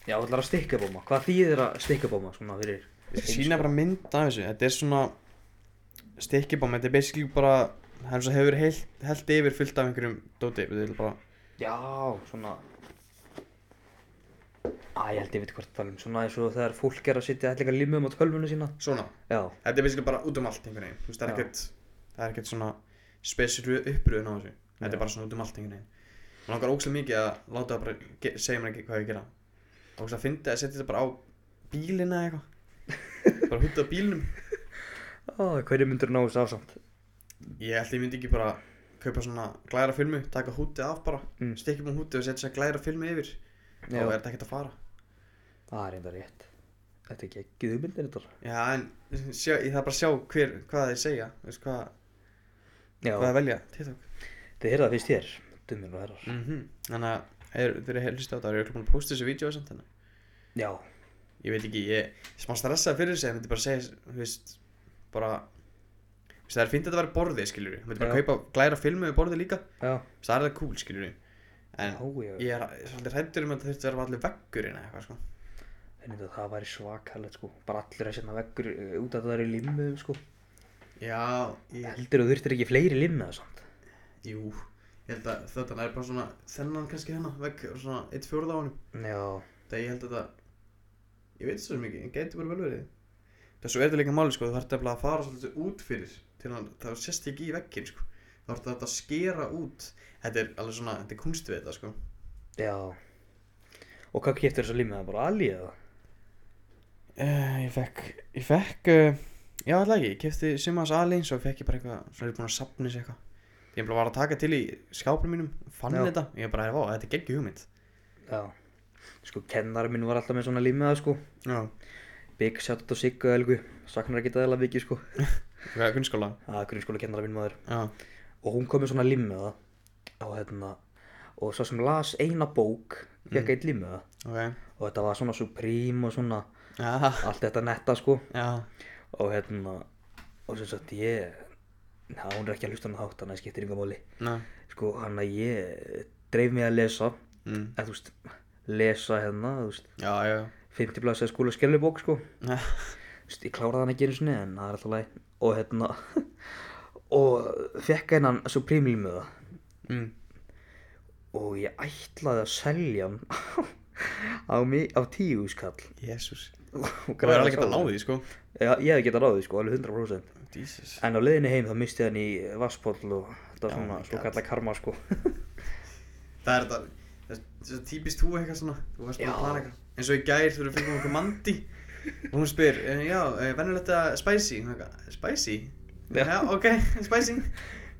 Já, þú ætlar að stikka bóma Hvað þýðir að stikka bóma svona fyrir
Ég skal sína bara mynd af þessu, þetta er svona stikkibom, þetta er basically bara það er svo hefur heilt, held yfir fullt af einhverjum dóti, við viljum bara
Já, svona Æ, ég held ég veit hvort það er Svona eins og þegar fólk er að sitja ætla eitthvað limum á tölvunum sína
svona,
Já,
þetta er basically bara út um allt einhvern veginn, þú veist, það er
Já.
ekkert það er ekkert svona spesiru uppröðun á þessu þetta
Já.
er bara svona út um allt einhvern veginn og langar ógslag mikið að láta það bara ge- segja mér ekki hvað ég á að gera ógslag að fyndi að setja þetta bara á bílina eða eitthvað bara hútt á bílinum
Ó, hverju myndur ná þessu ásamt?
ég held ég myndi ekki bara kaupa svona glæra filmu, taka hútið af bara
Mm.
stikkjum á hútið og setja sér glæra filmu yfir þá
Já.
er þetta ekkert að fara
Það er enda rétt. Þetta er ekki ekki hugmyndir þetta.
Já, en sjá, ég þarf bara að sjá hver, hvað þeir segja, þú veist, hvað,
Já,
hvað þeir velja, TikTok.
þið heyrða það fyrst hér, dumir og herrar.
Mhm, þannig að er, þeir eru helst á það, eru búin að posta þessu vídeo samt þannig.
Já,
Ég veit ekki, ég er smá stressað fyrir þessu, ég myndi bara segja, þú veist, bara, þú veist, það er fínt að þetta væri borðið, skiljur ég myndi bara
Já.
kaupa glæra filmu við borðið líka, þú
já,
veist, það er það cool, skiljur En
já, já.
ég er svolítið hrættur um að þetta þurfti að vera allir veggurinn eða eitthvað, sko.
En þetta það væri svakalegt sko, bara allir að setna veggur eh, út að það eru limmuðum sko.
Já, ég,
Heldur þú þurftir ekki fleiri limmuða samt?
jú, ég held að þetta er bara svona, þennan kannski hennar, vegg, svona, eitt fjórða á honum.
Já,
Það ég held að það Ég veit svo sem ekki, en gæti bara vel verið Það svo er þetta líka máli sko, þú þarf nefnilega að fara svolítið út fyrir til hann, það sést ekki í veggin sko þá þarf þetta að skera út Þetta er alveg svona, þetta er kunst við þetta sko
já. Og hvað keftir þessu limmuða? Bara alið eða?
uh, Ég fekk, ég fekk uh, Já, alltaf ekki, ég kefti Simas Alins og fekk ég bara eitthvað, svona er ég búin að sapna sér eitthvað Ég bara var að taka til í skápnum mínum fann
Já.
þetta, ég bara, vá, þetta er geggjum hugmynd
Já. Sko, kennar minn var alltaf með svona limmuða sko.
Já,
Big shout out á Siggu Elgu, saknar ekki það eða mikið sko.
hvað er kunnskóla?
Það er grunnskóla kennar minn maður.
Já,
og hún kom með svona limmiða og hérna og svo sem las eina bók fekk mm. eitt limmiða
ok
og þetta var svona Supreme og svona
Já,
allt þetta netta sko
já,
og hérna og sem sagt ég Já, hún er ekki að hlusta hann hátt, þannig að skiptir yngar máli.
Nei.
Sko, hann að ég dreif mig að lesa,
Mm.
eða þú veist, lesa hérna, þú veist,
Já, já.
50 blæs eða skóla skellibók, sko.
Nei.
Þú veist, ég kláraði hann ekki einu sinni, en það er alltaf læg. Og hérna, og fekk hennan Supreme Limiða
Mm.
og ég ætlaði að selja hann á, mi- á tíu skall.
Jésús.
Og
Það er alveg gett að ná því, sko.
Já, ég hef getað náðið, sko, alveg 100%.
Jesus.
En á leiðinni heim þá misti hann í vasspóll og þetta var
Oh
svona
my
svo
God.
kalla karma sko.
Það er þetta, það er- það er típist þú eitthvað svona, þú varst bara
Já.
að plana eitthvað. En svo í gær þegar við fengum okkur mandi, og hún spyr, eh, já, vennilega þetta spicy, og hún eitthvað, spicy?
Já.
Já, ok, spicy.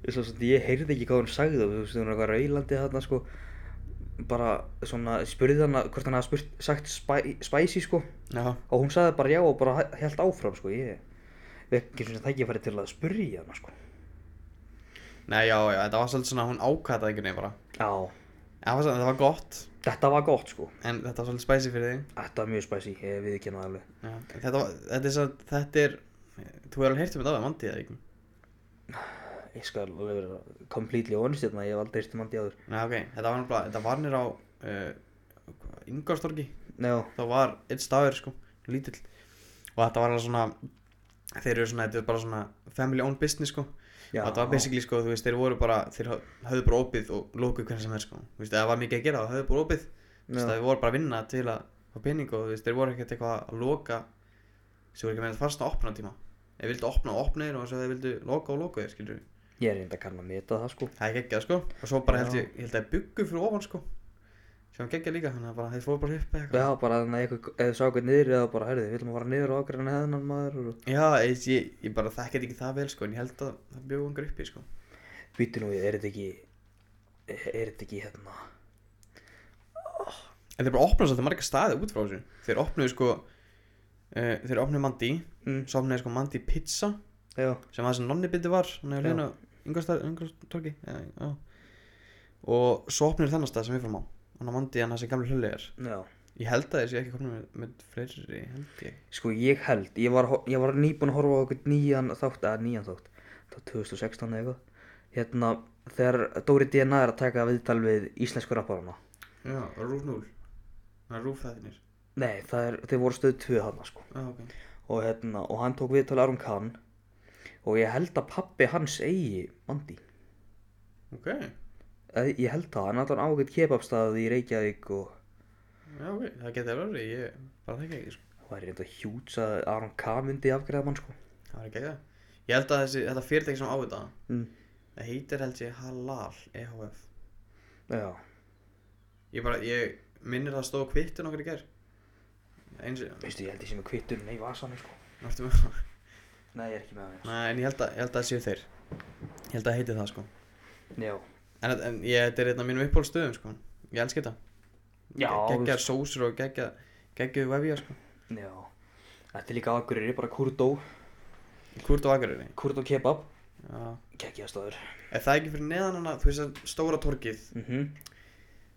Svo svona ég heyrði ekki hvað hún sagði þú veist, hún var eitthvað raulandi þarna sko. Bara svona spurði hann hvort hann hafði spurt, sagt spæ, spicy sko.
Já,
Og hún sagði bara já og bara held áfram sko. Ég við ekki svona tækifæri til að spurja hann sko.
nei, já, já, þetta var svolítið svona, hún ákataði einhvern veginn bara.
Já,
En Það var, svona- þetta var gott,
þetta var gott sko.
en þetta var svolítið spicy fyrir þig.
Þetta var mjög spicy, ég við ekki hann alveg.
Já, þetta, var, þetta er svo, þetta er, þú hefur alveg heyrt um þetta af mandi, eða ekki?
Ég skal alveg vera completely honest hérna, ég hef aldrei hýrt um hann áður.
Nei, ok, þetta var náttúrulega, þetta var nýr á uh, Ingolstorgi,
Já,
þá var einn staður sko, lítill og þetta var alveg svona þeir eru svona, þetta er bara svona family owned business sko,
já.
þetta var basically sko þú veist, þeir voru bara, þeir hö- höfðu bara opið og lókuð hvernig sem er sko, þú veist, ef það var mikið að gera þá höfðu bara opið, þú veist,
Já.
það voru bara að vinna til að fá pening og þú veist, þeir voru ekkert eitthvað að loka sem voru ekki með að fasta opna tíma þeir vildu opna og opna þeir og svo þeir vildu loka og loka þeir, skilur
Ég er reynda að kanna að meta það sko.
það er geggjað sko, og svo bara
Já.
held ég, ég held að þeir byggu fyrir ofan sko, sem var geggjað líka þannig að bara, þeir fóru bara upp eitthvað
Já, bara þannig að eitthvað, eða sá eitthvað niður eða bara, herðu, við viljum að fara niður og ágræna hennan maður og
Já, ég, ég, ég bara þekkið ekki það vel sko, en ég held að það bjóð ungar uppi sko.
býtu nú við, er þetta ekki, er þetta ekki hérna,
En þeir bara opnaði svolítið marga staði út frá þessu. Þeir opnuðu sko, uh, þeir opnuðu Mandi,
mm.
svo opnuðu sko Mandi Pizza,
já,
sem var þessi nonnibindi var, hann
Já.
hefur hlýna Ingolstorgi, já, já. Og svo opnuðu þennan stað sem við fórum á, hann á Mandi, hann þessi gamli hlulegar.
já,
Ég held að þessi ekki komnum með, með fleiri, held ég.
sko ég held, ég var, ho- ég var nýbúin að horfa á eitthvað nýjan þátt, eða nýjan þátt, það var 2016 eða eitthvað, hérna, þegar Dóri DNA er að taka viðtal við íslensku rapparana,
Já, Rúf 0. Það er Rúf þættinir.
nei, það er, þeir voru stöðu tvö þarna, sko,
Já, ok.
og hérna, og hann tók viðtal við Aron Kahn, og ég held að pappi hans eigi, Mandi,
Ok,
Eh, Ég held það, hann er alltaf ágætt kebabstað í Reykjavík og
já, ok. Það geti verið, ég bara þekki ekki sko.
það væri reynda hjúts að Aron K. myndi afgreða mann sko.
Það var ekki það. Ég held að þessi, þetta fyrirtæki sem á þetta,
Mm.
það heitir held ég Halal E EHF.
Já,
Ég bara, ég minnir það stóð kvittun okkur í gerð. Eins og,
veistu, ég held ég sem er kvittur nei vasan sko.
náttúrulega með það.
Nei, ég er ekki með hann.
Nei, en ég held að, ég held að það séu þeir. Ég held að það heiti það, sko.
Já,
En, en ég, þetta er einn af mínum uppbólstöðum, sko. Ég elski þetta.
Já,
Geggjar sósur og geggja, geggjuð vefja, sko.
já. Þetta er líka aðgurir, bara kurdó,
Kurt og Akureyri.
kurdó kebab,
Já.
geggjastaður.
Ef það er ekki fyrir neðan hana, þú veist að stóra torgið,
Mhm,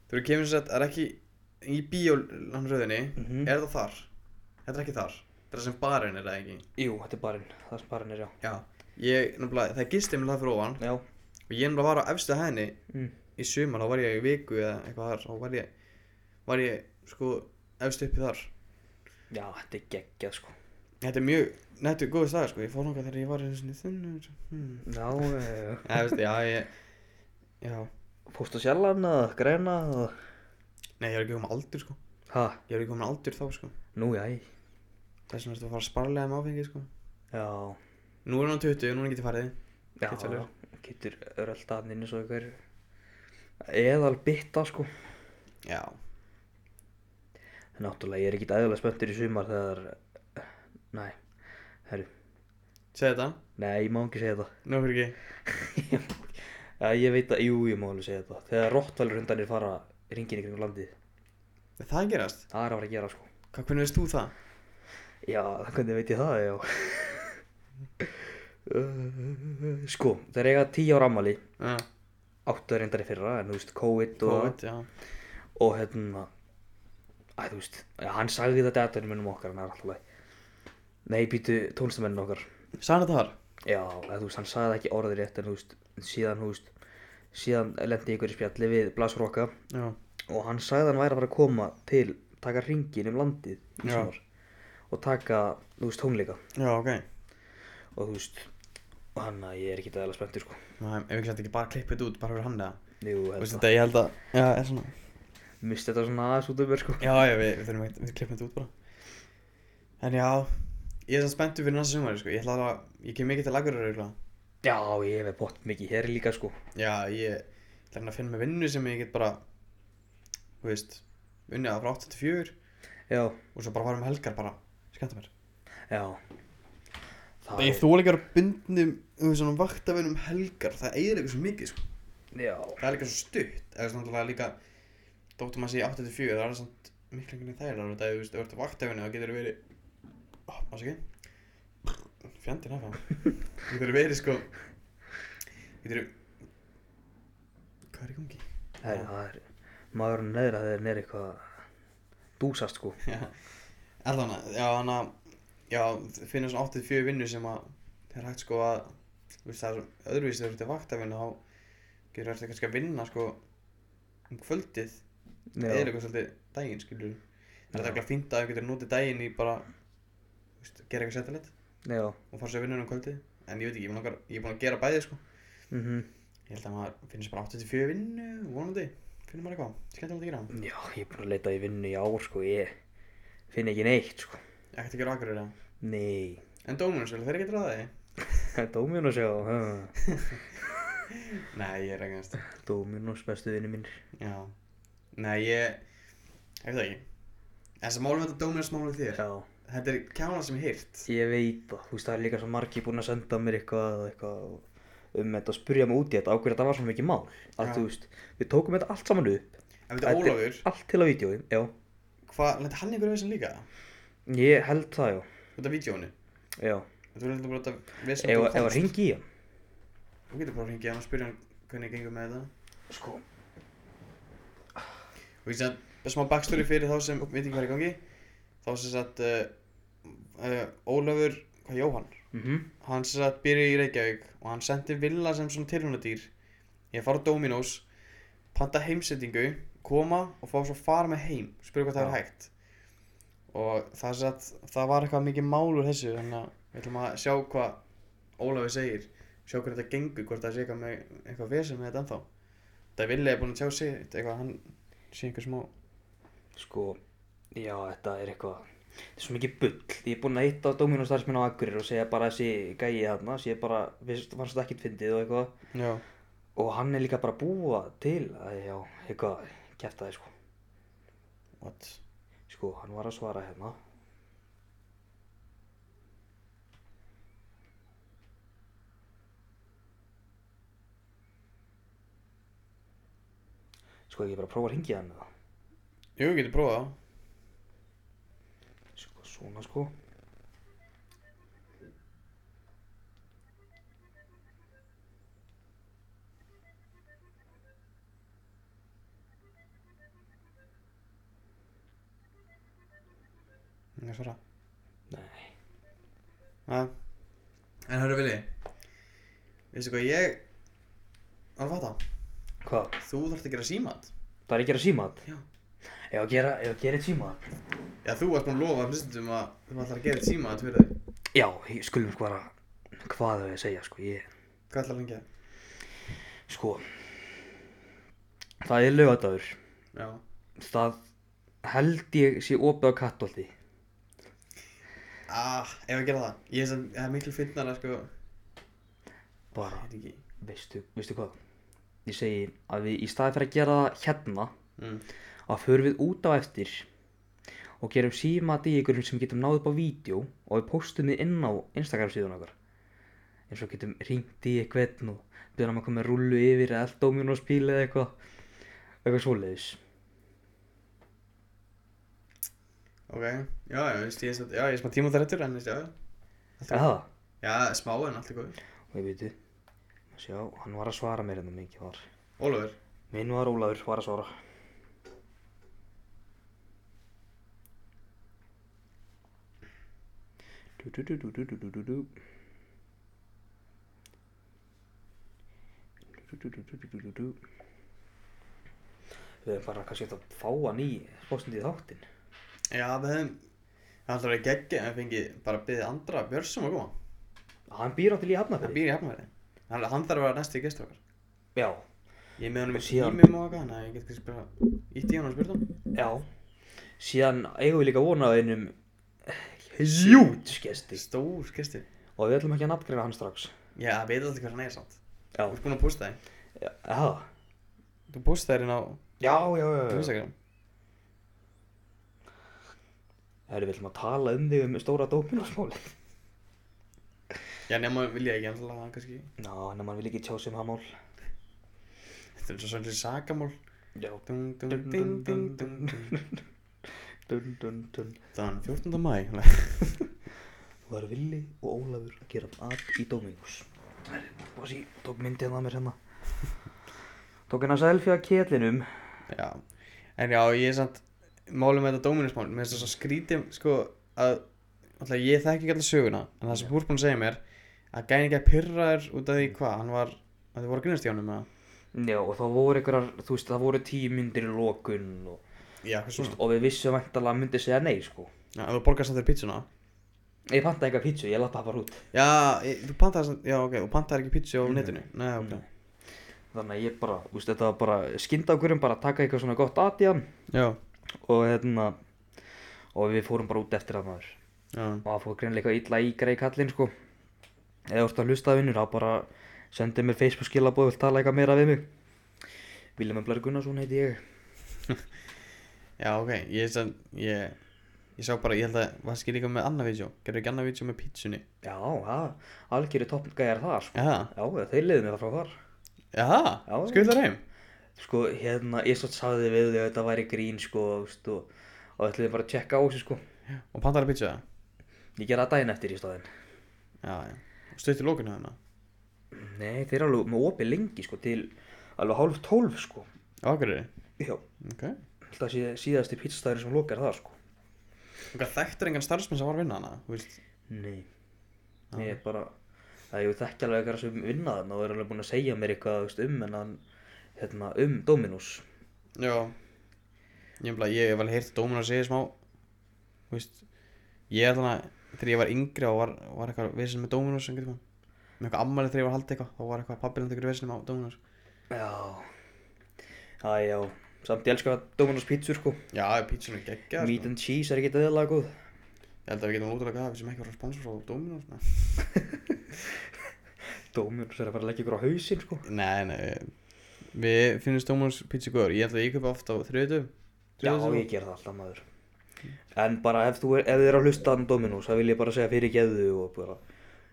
þú eru kemur sér að það er ekki í bíólanröðinni,
Mhm.
er það þar? Þetta er ekki þar. Þetta er sem barinn er það ekki.
jú, þetta er barinn, það sem barinn er já.
Já, ég, náttúrulega, það gisti mér það fyrir ofan
Já,
og ég náttúrulega var á efstu hæðinni
mm.
í suman, þá var ég í viku eða eitthvað þar, þá var ég, var ég, sko, efstu uppi þar.
já, þetta er geggjað sko.
Þetta er mjög, nættu góðu staðar, sko, ég fór nokkað þegar ég var einu sinni þunnur, hmm.
Já, eh,
Já, veist, já, ég, já,
fórstu á sjallan að græna og...
nei, ég er ekki komin aldur, sko,
Ha,
ég er ekki komin aldur þá, sko,
nú já,
þess vegna ertu að fara að sparlega með áfengi, sko.
já.
Nú er hann 20, núna get ég farið,
Já,
Getur verið.
getur örölda hann inn eins og ykkur eðal bytta sko
já,
en náttúrulega ég er ekkit æðilega spöntur í sumar þegar næ, herru,
segð þetta,
nei ég má ekki segja
nú fyrir ekki,
þetta Já, ég veit að, jú, ég má alveg segja þetta þegar rottvalur hundanir fara ringin ykkur um landið,
Er það að gerast,
það er að fara að gera sko
hvað, hvernig veist þú það?
Já, hvernig veit ég það, já Sko, þeir eiga tíu ára ammali
Já,
áttu reyndar í fyrra, en þú veist, COVID og
COVID, já,
og hérna að þú veist, hann sagði þetta datanum um okkar en það er alltaf leið nei, býtu tónlistamennin okkar
sagði það þar?
Já, eða, þú veist, hann sagði ekki orðið rétt en þú veist, síðan, þú veist, síðan lendi ykkur í spjalli við Blasrokka
já,
og hann sagði að hann væri að fara að koma til, taka ringin um landið í
Já.
sumar og taka, þú veist, tónleika
já, ok
og þú veist, og hann að ég er ekki aðeins spenntur sko.
Ná, ef ekki sett ekki bara klippið þetta út bara fyrir hann eða
Jú,
Þú veist
þetta,
þetta, ég held að, já, er svona
misti þetta svona aðeins út af mér sko.
Já, já, við, við þurfum ekki, við klippum þetta út bara En já, ég er samt spenntur fyrir næsta sumari, sko Ég ætla að, ég kem mikið til lagurar eiginlega
Já, ég hef bótt mikið hér líka sko.
Já, ég ætla hérna að finna mér vinnu sem ég get bara Þú veist, unnið að frá 8 til 4
Já,
Og svo bara varum helgar bara, skemmta mér
já. Það
Ég þú alveg að vera bundnum, þú veist, svona vaktavinnum helgar Það eigir eitthvað svo mikið, sko
Já,
það er líka svo stutt eða svona náttúrulega líka dóttum maður sé í 84 það er samt miklu einhvern veginn þægilega þetta ef þú veist, ef þú ert á vaktefinni þá getur þú verið oh, maður ekki fjandinn af það getur þú verið sko getur þú hvað er í gangi?
það er, það er, maður er neðra þegar hann er eitthvað að dúsast sko.
já, allan að já, hann að já, finna svona 84 vinnu sem að það er hægt sko að þú veist, það er öðruvísi þegar þú ert á vaktefinni þá getur þú kannski að vinna sko um kvöldið
Já,
eða eitthvað svolítið daginn skilur það er
Já.
eitthvað fínt að þú getur notið daginn í bara þú veist, gera eitthvað settilegt
já,
og fara sér vinnunum um kvöldið en ég veit ekki, ég er búinn að- ég er búin að gera bæði sko
mhm.
ég held að maður finnir sér bara 84 vinnu vonandi, finnir maður eitthvað, skemmtilegt að gera
Já, ég er búin að leita í vinnu í ár sko, ég finn ekki neitt sko.
ekkert að gera akkurir eða
Nei,
en dómunum svolítið, þeir getur að það
Dominos já, ha.
nei, ég er ekki næst
Dominos bestu vinnu minn.
já, nei, ég ég veit það ekki en þess að málum þetta dómunum smálum þér
Já,
þetta er kjána sem ég hýrt
ég veit það, þú veist það er líka svo margi búin að senda mér eitthvað og eitthvað og um þetta og spurja mig út í þetta, á hverju þetta var svona mikið mál. Að
Já.
þú veist, við tókum þetta allt saman upp.
en veit Ólafur,
Allt til á vídjói, já.
hvað, lendi hann einhverju vesen líka?
Ég held það, já,
Út af vídjónu?
já.
Þú er eitthvað að vesen
Ef
þú
ef að
komst.
ringi í hann.
Þú getur bara að hringja hann og spyrja hann hvernig gengur með þetta.
Sko.
Og ég sem að smá backstory fyrir þá sem veit ekki hvað er í gangi. Þá sem sagt uh, uh, Ólafur, hvað Jóhann?
Mhm,
Hann sem sagt byrja í Reykjavík og hann sendi Villa sem svona tilhjónadýr. Ég að fara á Dominos, panta heimsettingu, koma og fá svo fara með heim. Spyrja hvað það er
Já.
hægt. Og það sem sagt, það var eitthvað mikið mál úr þessu. Þannig að við ætlum að sjá hvað Ólafur segir. Sjá hvernig þetta gengur, hvort það sé eitthvað með eitthvað vesen með þetta ennþá. Það er villið búin að tjá sig eitthvað, hann sé einhver smá
sko, já, þetta er eitthvað, þetta er svo mikið bull. Ég er búinn að hitta Dominos starfsmenn á Akureyri og segja bara þessi gæi þarna, sé bara, við fannst þetta ekkert fyndið og eitthvað.
Já,
Og hann er líka bara að búa til að, já, eitthvað, kæfta þið, sko.
what?
Sko, hann var að svara hérna. Sko, ég bara að prófa að ringja hann eða.
Jú, við getum prófað það
Sko, svona, sko.
Ég er svara
Nei.
ja. En hörru Vili Veistu hvað, ég var að fatta,
Hvað?
þú þarft að gera símat
Það er að gera símat?
Já.
Ef að gera, ef að gera eitt símat?
Já, þú varst búin að lofa hlustundum að þú ætlar að gera eitt símat fyrir þig
Já, ég skulum sko bara, hvað þau að segja, sko, ég...
Hvað ætlar lengi að?
Sko Það er laugadagur
Já
Það held ég sé opið á kattolti
Ah, ef að gera það Ég er sem, það er miklu finnar að sko
Bara,
Þetta ekki
veistu, veistu hvað Ég segi að við í staði fyrir að gera það hérna
mm.
að förum við út á eftir og gerum símat í ykkurum sem getum náð upp á vídeo og við postum þið inn á Instagram síðan okkar eins og getum ringt í eitthvað og byrjum að koma með rullu yfir eða allt Dominos bíl eða eitthvað eitthvað svoleiðis
Ok, já, já, veist, ég er sem, já, ég er smá tíma þar en veist, já
Er það?
Já, smá en allt er góður
Og ég veitu, sjá, hann var að svara mér hérna mikið var
Ólafur
Minn var Ólafur, var að svara. Du, du, du, du, du, du, du, du, du. Du-du-du-du-du-du-du. Við höfum bara kannski hægt að fá hann í spostandi í þáttinn.
Já, við hefum Það ætlar að gegja en fengið bara að byggja andra björsum að koma
Hann býr átti í
Hann
hafnafyrir.
býr í hafnverði Hann, hann þarf að vera næsti gestur okkar
Já,
Ég er með honum í
Og síðan-
tímum og eitthvað Þannig að ég get kannski bara Ítti í hann og spurt hann
já. Síðan eigum við líka vonað einum hjút skesti.
Stór gestur
Og við ætlum ekki að nafngreina hann strax.
Já, það veit alltaf hvað hann er samt
Já.
Þú ert búin að posta þig
Já, já,
Þú postaði hérna á
já, já. já.
Instagram
Herri, við ætlum að tala um þig um stóra dópinarsmálið.
Já, nema vilja ekki alltaf að hann kannski
Ná, en að mann vil ekki tjá sig um hann mál.
Þetta er svo svolítið sakamál
Já.
Dung, dung,
Dun,
ding,
dun,
ding,
dun,
dung, dung
Dun, dun, dun.
Þann 14. mæ
var Villi og Ólafur að gera að í Dominus. Bossi, tók myndið hann að mér hérna. Tók hann að selfie að kétlinum.
Já En já, ég er samt Málum með þetta dóminusmál Mér finnst það svo skrítið Sko að Alltaf ég þekki ekki alltaf söguna En það sem þú ert búin að segja mér Að gæði ekki að pirra þér út af því hvað Hann var Að þið voru að grínast í honum eða
Já, og það voru einhverjar, þú veist, það voru tíu myndir í lokun og,
Já, hvað svona
og við vissum væntalega að hann myndi segja nei, sko.
Já, en þú borgar samt þér pizzuna
Ég pantaði eitthvað pítsu, ég lappa bara út.
Já, ég, þú pantaði samt Já, ok, Mm. þú pantaði ekki pizzu á netinu Nei, ok
Þannig að ég bara, þú veist, þetta var bara skynda okkur um bara að taka eitthvað svona gott að í hann
Já
og hérna, og við fórum bara út eftir það maður.
Já
og það fór greinlega eitthvað illa í greið kallinn sko eða þú ert að hlusta vinnur þá bara sendið mér Facebook skilabóð vilt tala eitthvað meira við mig Viljum Emblar Gunnarsson heiti ég
Já, ok Ég, sem, ég, ég sá bara Ég held að Varst ekki líka með annað vídeo Gerðu ekki annað vídeo með pizzunni
já, það, algjöru toppgæjar þar sko.
Já,
já, þeir liðum það frá þar
já,
Já, já.
skullar heim
sko, hérna, ég svo sagði við þau að þetta væri grín sko, þú veist, og, og ætliði bara að tjekka á þessu sko
Og pantaði pizzu það
ég gera það daginn eftir í staðinn
Já, já. Stutt í lókinu hérna.
nei, þeir eru alveg með opið lengi sko til alveg hálf tólf sko
Á Akureyri.
já,
Ok.
alltaf sé, síðasti pizzastæðurinn sem lokar það sko
Og hvað þekktur engan starfsmenn sem var að vinna hana, þú veist?
Nei, ég er bara, það ég þekki alveg eitthvað sem vinna þarna og er alveg búinn að segja mér eitthvað þú veist, um en hann, hérna, um Dominus.
Já. Ég hef bara, ég hef alveg heyrt dómun að segja smá, þú veist, ég er þannig að þegar ég var yngri og var, var eitthvað vesen með Dominus einhvern veginn. Með eitthvað ammæli þegar ég var að halda eitthvað, þá var eitthvað pappiland ykkur vesenum á Dominus.
Já, það já, samt ég elska Dominus pítsur sko,
Já, pítsunum geggja,
meat and cheese er ekki döðlega góð.
sko. Ég held að við getum útrúlega það, við sem ekki vorum sponsor frá sko. Dominus. Nei,
Dominus er að fara að leggja ykkur á hausinn sko.
nei, nei. Við finnumst Dominus pítsu góður. Ég held að ég kaupa oft á þriðutum.
Já, ég ger það alltaf maður. En bara ef þú er, ef þið er að hlusta hann Dominus, það vil ég bara segja fyrir geðu og bara,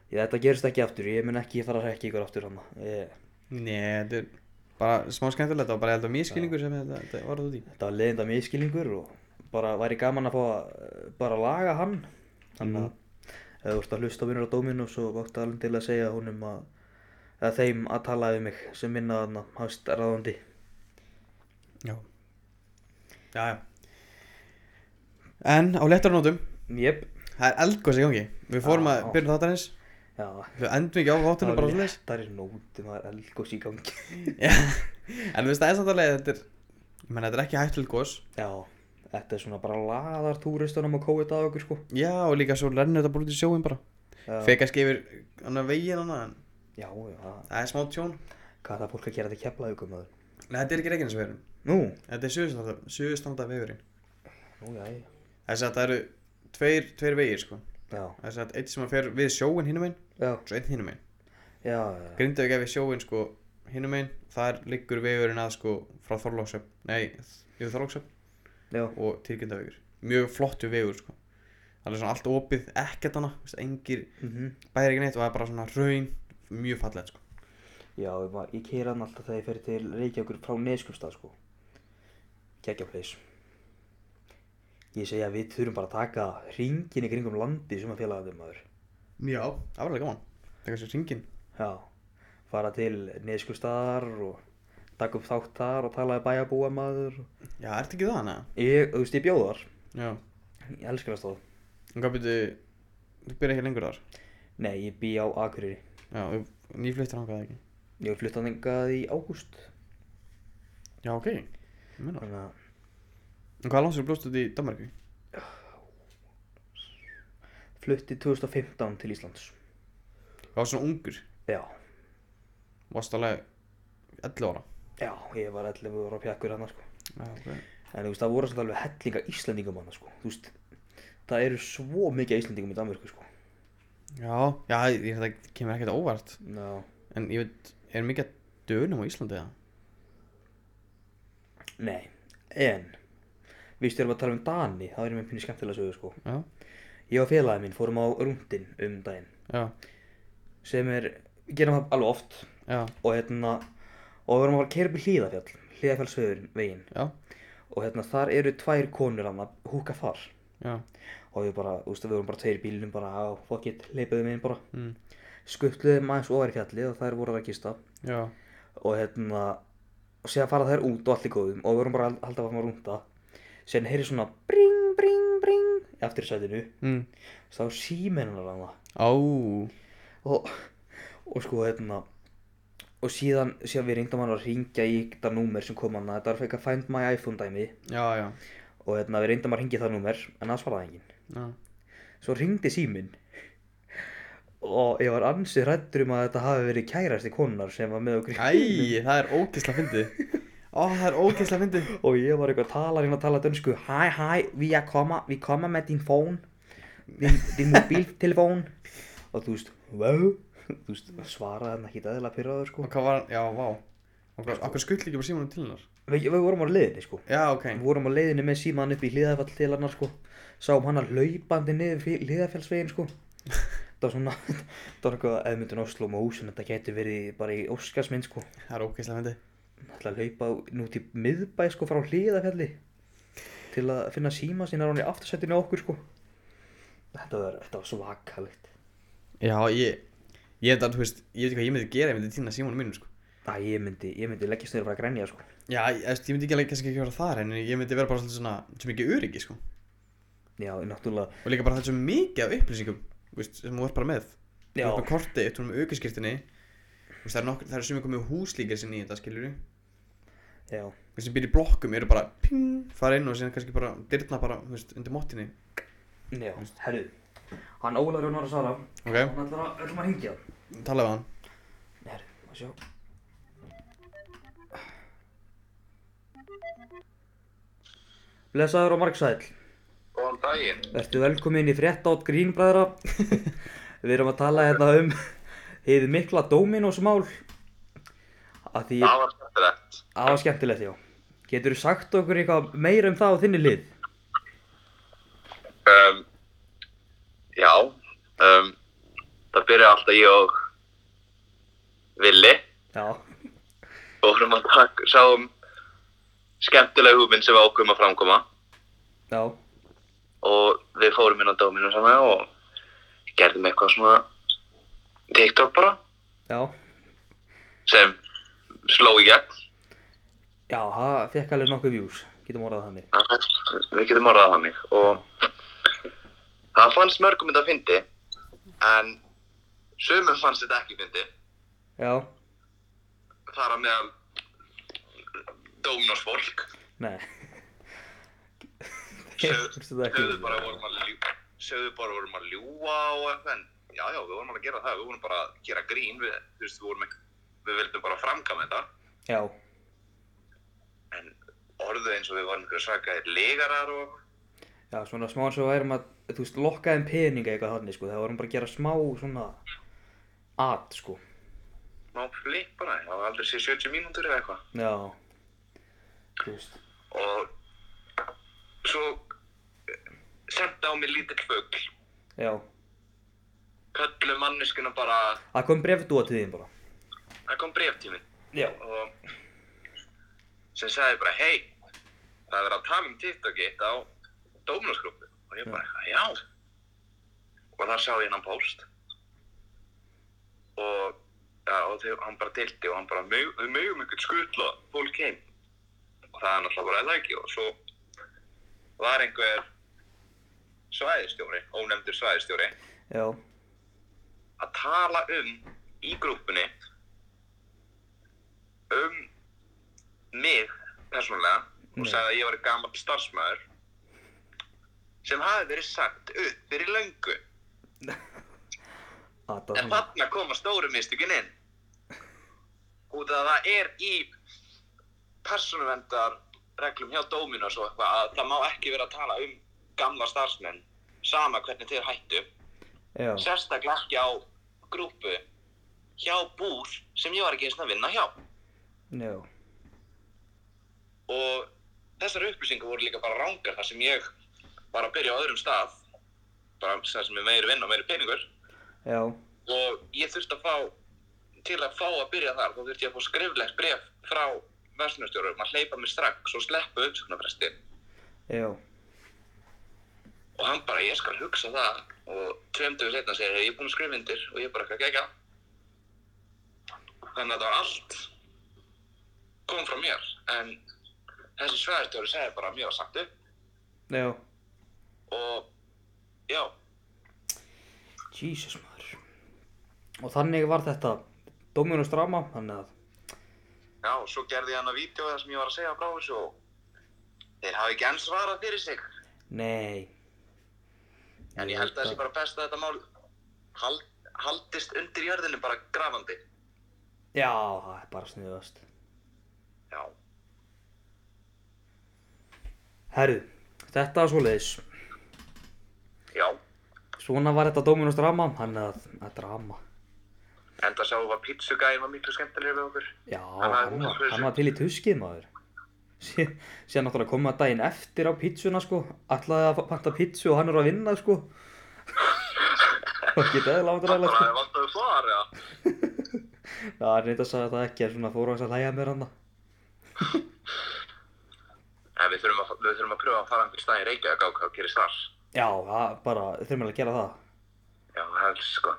ég, þetta gerist ekki aftur, ég mun ekki fara að rekja ykkur aftur hann. Ég,
Nei, þetta er bara smá skemmtilegt og bara ég held að mískilningur sem þetta, þetta var út í.
Þetta var leiðinda miskilningur og bara væri gaman að fá að eh, bara laga hann þannig að ef þú ert að hlusta vinnur á Dominus og vakt alveg til að segja honum að eða þeim að tala við mig sem minna þarna hans ráðandi
Já. Já, já. En á lettarnótum,
Jep,
það er eldgóðs í gangi. Við fórum
Já.
að byrja þáttarins,
já
við endum ekki á þáttunum bara svona þess.
Það er nóti, maður elgós í gangi
En við stæðum samt alveg að þetta er, ég menn þetta er ekki hættulegt gós.
Já, þetta er svona bara laðar túristunum að kóið það okkur sko
Já, og líka svo rennur þetta bara út í sjóin bara.
Já.
Fekast gefur annar veginn annað, en
Já, já,
það er smá tjón.
hvað það fólk að gera þetta keflaði ykkur maður
Nei, þetta er ekki reikinsvegurum.
Nú,
Þetta er suðustanda, suðustanda vegurinn.
nú, já,
Þess að það eru tveir, tveir vegir, sko.
já,
Það er sagt, eitt sem að fer við sjóin hinum einn
já,
og svo einn hinum einn.
já, já,
Grindavík er við sjóin sko hinum einn, þar liggur vegurinn að sko frá Þorlóksöp, nei, yfir Þorlóksöp
já,
og til Grindavíkur. Mjög flottu vegur sko. Það er svona allt opið, ekkert hana, veist, engir
mhm
bæri ekki neitt og það er bara svona raun, mjög fallegt sko.
Já, ég, ma- ég keira hann alltaf þegar ég fer til Reykjavíkur frá Neskjöpstað, sko. Kekja place. Ég segja að við þurfum bara að taka ringin í kringum landi sem að félagatum maður.
Já. Það var alveg gaman. Það er kannski ringin.
Já, fara til Neskjöpstaðar og taka upp þátt þar og tala við bæjarbúa maður.
Já, ertu ekki það hana?
Ég, þú veist, ég bjóð þar.
Já.
Ég elskar það stóð.
En hvað byrju, þú byrja ekki lengur þar?
Nei, ég bý á Akureyri.
Já, þú- nýfluttir hangað ekki.
Ég var flutt að þengað í ágúst
Já, ok. Ég meina.
Þannig að
En hvað langt sér blóst út í Danmarku?
flutti 2015 til Íslands
Ég var svona ungur.
Já,
Varst alveg 11 ára.
já, ég var 11 ára pjakkur hann sko
Já, ok.
En þú veist, það voru samt alveg hellinga Íslandingum hann sko Þú veist, það eru svo mikið Íslandingum í Danmörku sko
Já, já, ég, þetta kemur ekkert á óvart.
Já
En ég veit, er mikið að dönum á Íslandi eða?
Nei, en Við styrum að tala um Dani, það er mér pínu skemmtilega sögur sko
Já,
Ég og félagi minn fórum á rúndin um daginn
já,
sem er, við gerum það alveg oft
já,
og hérna og við vorum að fara að keyra upp í hlíðafjall hlíðafjallsvegurinn veginn
já,
og hérna þar eru tvær konur hann að húka þar
já.
og við bara, þú veist, við vorum bara tveir í bílnum bara á fokkitt, leipaðum inn bara
Mm.
skuttluðum aðeins ofar í fjallið og þær voru að kista
Já,
og hérna og séðan fara þær út og allir góðum og við vorum bara að halda að fara að rúnda séðan heyri svona bring, bring, bring aftur í sætinu,
mm.
þá símennar hann það
Á,
og, og sko hérna og síðan, síðan við reyndum hann að ringja í þetta númer sem kom hann þetta var eitthvað find my iPhone dæmi
já, já,
og hérna við reyndum að ringja það númer en það svaraði enginn
já.
svo ringdi síminn og ég var ansið rættur um að þetta hafi verið kærasti konar sem var með okkur í bílnum.
Æ, það er ógeðslega fyndið. Ó, það er ógeðslega fyndið.
og ég var eitthvað að tala hérna að tala dönsku hæ hæ, við að koma, við koma með þín fón þín, þín mobiltelefón og þú veist, wow þú veist, svaraði hann ekki eðla pyrraður sko
Og hvað var hann, já, vá. Og hvað, akkur skull ekki bara símanum til hennar?
við, við vorum á leiðinni sko
Já, ok.
Við vorum á leiðinni með símaðan upp í hliðafall til hennar sko Sáum hann að hlaupandi niður hliðafellsvegin sko Það var svona, það var eitthvað eða myndin Oslo Motion Þetta gæti verið bara í Óskarsmynd sko
Það er ógeðslega fyndið.
Það hlaupa nút í miðbæ sko frá hliðafelli Til að finna síma sína hann í aftursættinu á okkur sko Þetta var, þetta var svakalegt
Já, ég, ég veit að, þú veist, ég veit ekki hvað ég myndi gera, ég myndi týna símanum mínum, sko.
Æ, ég myndi, ég myndi leggjast niður og fara að grenja sko
Já, ég, ég myndi ekki alveg kannski ekki vera þar en ég myndi vera bara svolítið svona svo mikið öryggi sko og
Já, náttúrulega
líka bara það er svo mikið af upplýsingum þú veist, sem þú er bara með Þú
Já,
ert með korti, þú ert með aukaskirtinni þú veist, það er nokkur, það er svo mikið með húslíkir sinni í þetta skilur við
já,
sem býr í blokkum eru bara ping, fara inn og síðan kannski bara dyrna bara, þú veist, undir móttinni
já, herru Hann Ólar Jónar að svara
ok,
Hann ætlar að, ætlum að hringja
talaðu við hann
Herru, að sjá Blesaður og margsæl
Góðan daginn.
Vertu velkomin í frétt átt grínbræðra Við erum að tala hérna um Hið mikla Dominos-mál Að því
Það var skemmtilegt.
aða skemmtilegt já Geturðu sagt okkur eitthvað meira um það á þinni lið?
Um, já, um, það byrjaði alltaf ég og Villi
Já,
og vorum að taka, sáum skemmtilega hugmynd sem við ákveðum að framkoma
já,
og við fórum inn á Dóminu saman og gerðum eitthvað svona TikTok bara
já
sem sló í gegn.
Já, það fekk alveg nokkuð views Getum orðað þannig
Við getum orðað þannig og það fannst mörgum þetta að fyndi en sumum fannst þetta ekki fyndi.
Já,
þar að meðal Dóminós fólk
nei Fyrstu þetta ekki
sögðu bara vorum að ljúa sögðu bara vorum að ljúa og eitthvað en já já við vorum alveg að gera það við vorum bara að gera grín við, þú veist, við, vorum ekki, við vildum bara framkama þetta
Já,
en orðuð eins og við vorum einhverja svakaðir legarar og
Já, svona smá eins og værum að, þú veist, lokka þeim peninga eitthvað þannig, sko, það vorum bara að gera smá svona at, sko.
ná flip bara ég hafði aldrei séð 70 mínútur eða eitthvað
Já, þú veist,
og svo eh, sendi á mig lítill fugl
já.
köllu manneskuna bara
Það kom brefdúa til þín bara.
það kom breftíminn
Já.
og sem sagði bara hei, það er verið að tala um TikToki á Dóminusgrúpu og ég bara, já og þar sá ég hennan post og, ja, og þau, hann bara dildi og hann bara, "Meg- við mögum ykkur skutla fólk heim og það er náttúrulega bara eða ekki og svo var einhver svæðistjóri, ónefndur svæðistjóri
Já,
að tala um í grúpunni um mig persónulega og
Nei.
sagði að ég var gammal starfsmæður sem hafi verið sagt upp fyrir löngu
Þetta
en
svona,
þarna koma stóru mistökin inn út af að það er í persónuvendar reglum hjá Dominos og eitthvað að það má ekki vera að tala um gamla starfsmenn sama hvernig þeir hættu
já,
sérstaklega ekki á grúpu hjá búr sem ég var ekki eins og að vinna hjá
já,
og þessar upplýsingar voru líka bara rángar þar sem ég var að byrja á öðrum stað bara þar sem er meiri vinna og meiri peningur
já,
og ég þurfti að fá til að fá að byrja þar þá þurfti ég að fá skriflegt bref frá verslunarstjórum að hleypa mig strax og sleppa uppsöknarfresti
já,
og hann bara ég skal hugsa það og tveim dögur setna segir ég er búinn að skrifa undir og ég bara ekki að gegja þannig að það var allt kom frá mér en þessi svæðarstjóri segir bara að mér var sagt upp
já,
og já,
Jesus maður. Og þannig var þetta Dominus drama, þannig að,
já, svo gerði ég hann að vídeo það sem ég var að segja frá þessu og þeir hafi ekki enn svarað fyrir sig
nei.
en ég held að það sé bara best að þetta mál hald, haldist undir jörðinu bara grafandi
Já, það er bara sniðast.
já,
Herru, þetta var svoleiðis.
já,
Svona var þetta Dominus drama, þannig að, að drama.
enda sjáum við að pizzugæðin var miklu skemmtilegur við okkur
Já,
var
hann var,
húsfreyja.
hann var til í tuskið maður. Sí- Síðan náttúrulega komið að daginn eftir á pizzuna sko, ætlaði að panta pizzu og hann er að vinna sko. Og geta eða látur aðlega
Það bara
sko.
hefði vantaði svar, eða?
Já, hann reynda að sagði það ekki en svona fór hans að hlæja mér hann það.
Nei, við þurfum að, við þurfum að pröfa að fara einhvern stað í Reykjavík á hvað að gerist þar.
Já, það bara, þurfum alveg að gera það.
Já, það er sko.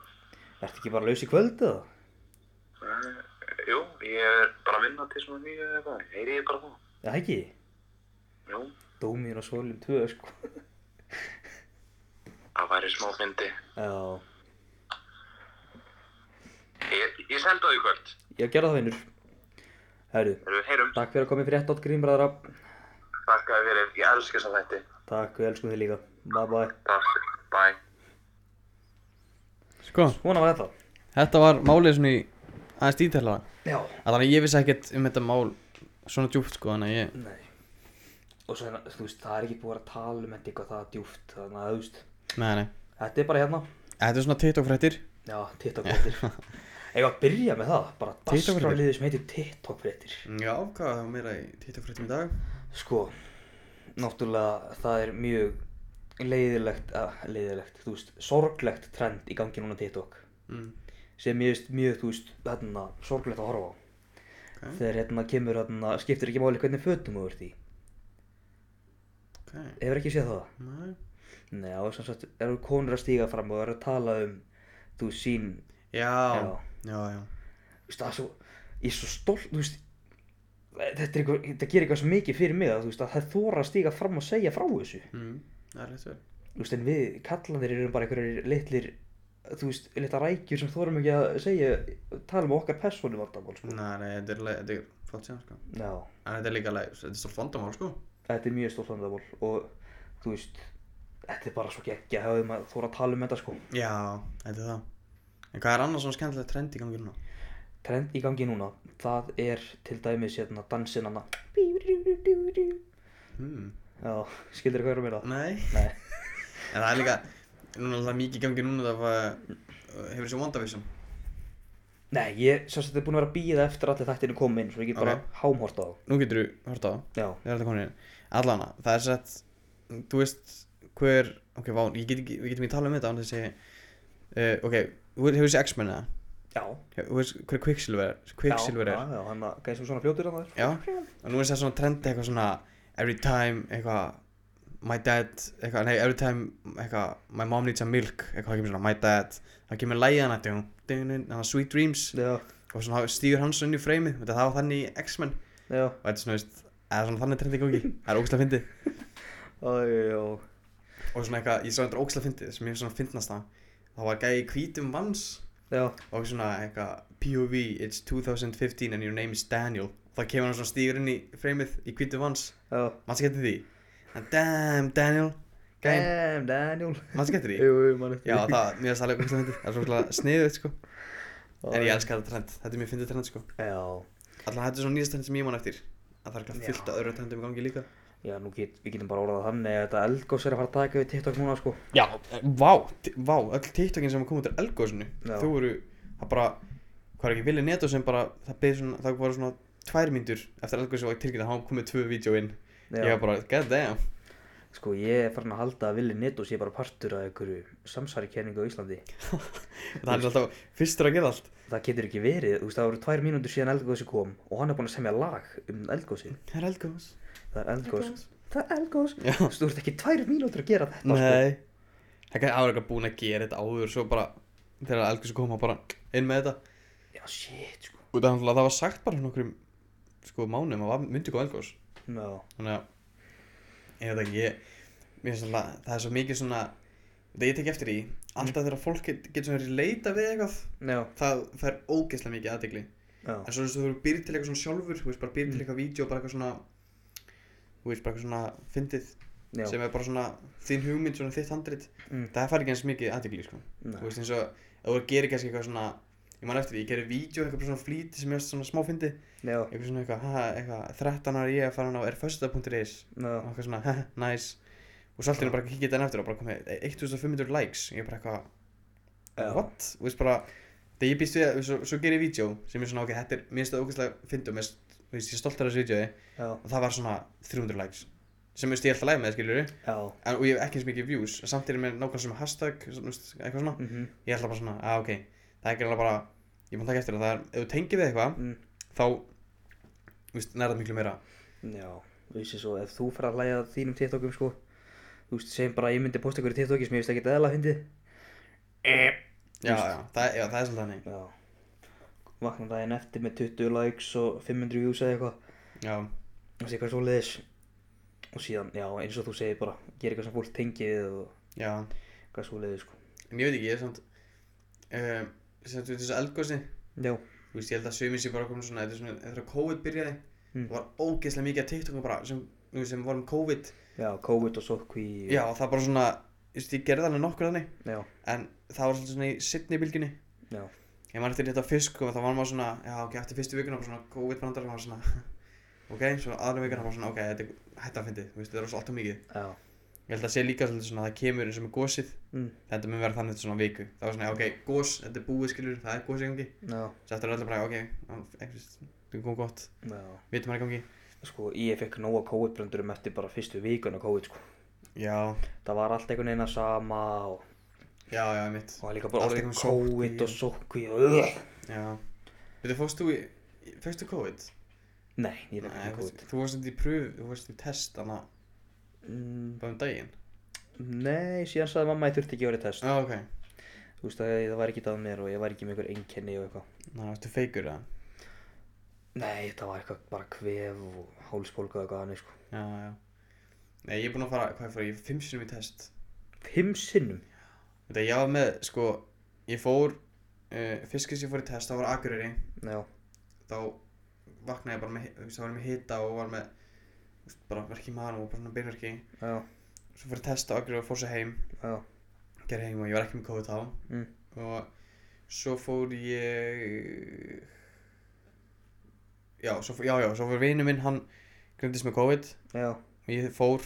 Ertu ekki bara laus í kvöld eða?
Eh, Jú, ég er bara að vinna til svona nýju eða eitthvað. Heyri ég bara það?
Já, ekki.
Jú,
Dómin og Solin 2 sko.
það væri smá myndi.
Já,
Ég, ég senda það í kvöld.
ég gera það vinnur. Herru,
Þegar við heyrum,
takk fyrir að komið fyrir 1.8 grímbræðra.
þakka þér fyrir. Ég elska þess að þætti.
Takk, við elskum þið líka. Bye bye.
Takk, bye.
Sko,
Svona var þetta.
þetta var málið svona í aðeins dítælaða
Já.
Þannig að ég vissi ekkert um þetta mál svona djúpt sko Þannig að ég,
Nei Og svo hérna, þú veist, það er ekki búið að vera að tala um þetta eitthvað það djúft Þannig að, þú veist,
nei nei
þetta er bara hérna
Þetta er svona TikTok-frættir
Já, TikTok-fréttir Ég var að byrja með það, bara
TikTok-fréttir?
dagskráliðið sem heitir TikTok-fréttir
Mm, Já, hvað er það meira í TikTok-frættum í dag?
Sko, náttúrulega, það er mjög leiðilegt, að, leiðilegt, þú veist, sorglegt trend í gangi núna á TikTok
Mm.
sem ég veist mjög, þú veist, hérna, sorglegt að horfa á Þegar hérna kemur, hérna, skiptir ekki máli hvernig fötum þú ert í
Ok,
Hefur ekki séð það?
nei
Nei, það er sem sagt, eru konur að stíga fram og eru að tala um, þú veist, sín,
Já, já, já
þú veist, það er svo, ég er svo stolt, þú veist, þetta, er eitthvað, þetta gerir eitthvað svo mikið fyrir mig að, þú veist, að það þóra að stíga fram og segja frá þessu,
mm. Það er rétt verið
þú veist, en við kallanir erum bara einhverjir litlir, þú veist, litlar rækjur sem þórum ekki að segja, tala um okkar persónu vandamál, sko.
Nei, nei, þetta er, le- þetta er flott síðan sko
Já,
En þetta er líka, le- þetta er stórt vandamál sko
þetta er mjög stolt vandamál og, þú veist, þetta er bara svo geggja, hefur maður þóra að tala um þetta, sko.
Já, þetta er það En hvað er annars svona skemmtilega trend í gangi núna?
trend í gangi núna það er til dæmis hérna dansinn hana
Mm.
já, skildir hvað er að meira
Nei
nei,
En það er líka, núna er það mikið í gangi núna það var, hefur þessi WandaVision
nei, ég sem sagt er búin að vera að býða eftir að allir þættinu koma inn svo ég get bara
Ok.
hámhort á þá
Nú getur þú hort á það
já,
Það er alltaf komin inn. Allana, það er sett, þú veist hver, ok, vá, ég get ekki, við getum ekki talað um þetta án þess að ég, uh, ok, þú hefur þessi X-Men eða,
já,
Hefur- þú veist hver Quicksilver er, Quicksilver
já,
er,
já, hann að gæði sem svona fljótur hann
já, og nú er það svona trendi eitthvað svona, every time, eitthvað, my dad, eitthvað, nei, every time, eitthvað, my mom needs a milk, eitthvað, það kemur svona, my dad, það kemur lægið hana, dun, dun, dun, hana, sweet dreams,
þér já,
og svona stígur hans inn í freymið, þetta það var þannig í X-Men,
já,
og þetta er svona, veist, eða svona þannig trendi gangi, það er ógæslega fyndið.
æjó
og svona eitthvað, ég sá þetta ógslag fyndið sem ég svona fyndnast það það var gæði í hvítum vans
já,
og svona eitthvað POV, it's 2015 and your name is Daniel það kemur hann svona stígur inn í freymið í hvítu vans,
já.
maður skettir því And damn Daniel gæn,
Damn, Daniel.
maður skettir því
Eh. Jú, jú, mann
já það, mér finnst það alveg góðslega fyndið, það er svona sniðið sko en ég elska þetta trend, þetta er mér fyndið trend sko
Já,
allan þetta er svona nýjast trend sem ég man eftir að það er ekki
Já.
fullt af öðru trendum í gangi líka
já, nú get, við getum bara orðað þannig að þetta eldgós er að fara að taka við TikTok núna, sko.
Já, vá, t- vá, öll TikTokin sem kom út úr Elgósinu
Já.
Þú voru, það bara, hvað er ekki vilja netu sem bara, það beði svona, það voru svona tvær mínútur eftir Elgósi og tilkynna þá komið tvö vídeo inn
Já.
Ég var bara, god damn
Sko, ég er farin að halda að Willi Netto sé bara partur af einhverju samsæri á Íslandi.
Það er alltaf fyrstur að gera allt
Það getur ekki verið, þú veist, það voru tvær mínútur síðan eldgósi kom og hann er búinn að semja lag um eldgósið.
Það er Elgós
Það er eldgós. Það er eldgós.
Já.
Þú veist, þú ert ekki tvær mínútur að gera þetta, sko.
Nei Það gæti ára eitthvað búin að gera þetta áður svo bara Þegar Elgósi kom að bara inn með þetta
sko. Já, shit, sko.
Og það, það var sagt bara nokkrum, sko, mánum að var- myndi kom Elgós
Já,
þannig að ég veit ekki ég, mér finnst alltaf, það er svo mikið svona það ég tek eftir í alltaf þegar fólk get- getur svona releita við eitthvað
já,
það fær ógeðslega mikið aðdegli en
já,
svo eins og þú býr til eitthvað svona sjálfur þú veist bara býr til eitthvað vídeo bara eitthvað svona þú veist bara eitthvað svona fyndið
já.
sem er bara svona þín hugmynd svona þitt handrit
Mm.
það fær ekki eins mikið aðdegli sko.
Nei.
þú veist eins og ef þú gerir kannski eitthvað svona ég man eftir því, ég gerir vídeo um eitthvað bara svona flýti sem ég varst svona smá fyndið
Já,
eitthvað svona eitthvað, ha, eitthvað 13 ára ég að fara hann á erfösta.is
já,
og eitthvað svona, heh, nice og svo allt hérna bara kikið þetta eftir og bara komið 1500 likes og ég bara eitthvað,
já,
what? og veist bara, þegar ég býst við að, svo, svo ger ég vídeo sem er svona, ok, þetta er, mér finnst það ógeðslega fyndum, mér finnst, þú veist, ég er stoltar af þessu vídeoi
já,
og það var svona 300 likes sem mér finnst ég alltaf læg með, skiljur en,
já.
og ég hef ekki eins mikið views, en samt er ég með nákvæmlega sem hashtag, svona, þú veist, eitthvað svona
Mhm,
ég er alltaf bara svona, að ok, það er ekki bara ég má taka eftir að það er, ef þú tengir við eitthvað
mm.
þá, þú veist, nærða miklu meira
Já, þú veist svo, ef þú fer að hlæja að þínum TikTokum sko Þú veist, segjum bara að ég myndi posta ykkur í TikToki sem ég veist ekki eðla að fyndi
já, já, það, já, það er svolítið þannig
Já Vakna daginn eftir með 20 likes og 500 views eða eitthvað
já,
Þú veist, eitthvað svoleiðis Og síðan, já, eins og þú segir bara, gera eitthvað sem fólk tengið við og
já
eitthvað svoleiðis sko
En ég veit ekki, ég er samt uh, Samt við þessu eldgósi
Já,
Þú veist, ég held að sömur sér bara komin svona Þetta er svona, þegar COVID byrjaði
Mm.
Það var ógeðslega mikið að TikTokum bara sem, þú veist, sem vorum COVID
já, COVID og sótkví
Já, það bara svona, þú veist, ég gerði alveg nokkur þannig
já,
En það var svolítið svona í sittni bylginni
já,
Ég man eftir þetta á fisk og það var maður svona Já, ok, eftir fyrstu vikuna bara svona COVID brandar Það var svona, ok, svo aðra vikuna bara svona Ok, þetta er hætt að fyndi, þú veist, þetta er svo alltaf mikið
já
Ég held að sé líka svolítið svona að það kemur eins og með gósið
mm.
Þetta mun vera þannig eftir svona viku Það var svona, já, ok, gós, þetta er búið skilur, það er gós í gangi
Já,
Svo eftir er allir bara, ok, það kom gott,
já
vitum hann í gangi.
Sko, ég fekk nóga COVID-brandurum eftir bara fyrstu vikuna COVID sko
Já,
Það var allt einhvern veginn að sama og
já, já, mitt.
og það er líka bara
Allt
orðið
einhvern
COVID og sótkví og Ugh.
Já. Veitu, fórst þú í, fórst þú COVID?
Nei, ég veit ekki COVID
fórst- Þú fórst í pröf, þú fórst í test, þannig að
Mm,
bara um daginn.
Nei, síðan sagði mamma að ég þurfti ekki að vera í test
Já, Ah, ok.
Þú veist að ég- það var ekki það á mér og ég var ekki með einhver einkenni og eitthvað
Ná, ertu feikur eða?
Nei, þetta var eitthvað bara kvef og hálspólka og eitthvað annað sko
Já, já. Nei, ég er búinn að fara, hvað ég fara, ég er fimm sinum í test.
Fimm sinnum?
Þetta, ég var með, sko, ég fór, uh, fyrst sem ég fór í test, það var Akureyri.
Já,
þá vaknaði ég bara með, þú veist, þá var ég með hita og var með, þú veist, bara verki í maðurum og bara svona beinverki.
já,
Svo fyrir testa okkur og fór svo heim,
já,
gerði heim og ég var ekki með COVID þá.
mm,
Og svo fór ég, já, svo fór, já, já, svo fór vinur minn, hann grindist með COVID
já,
og ég fór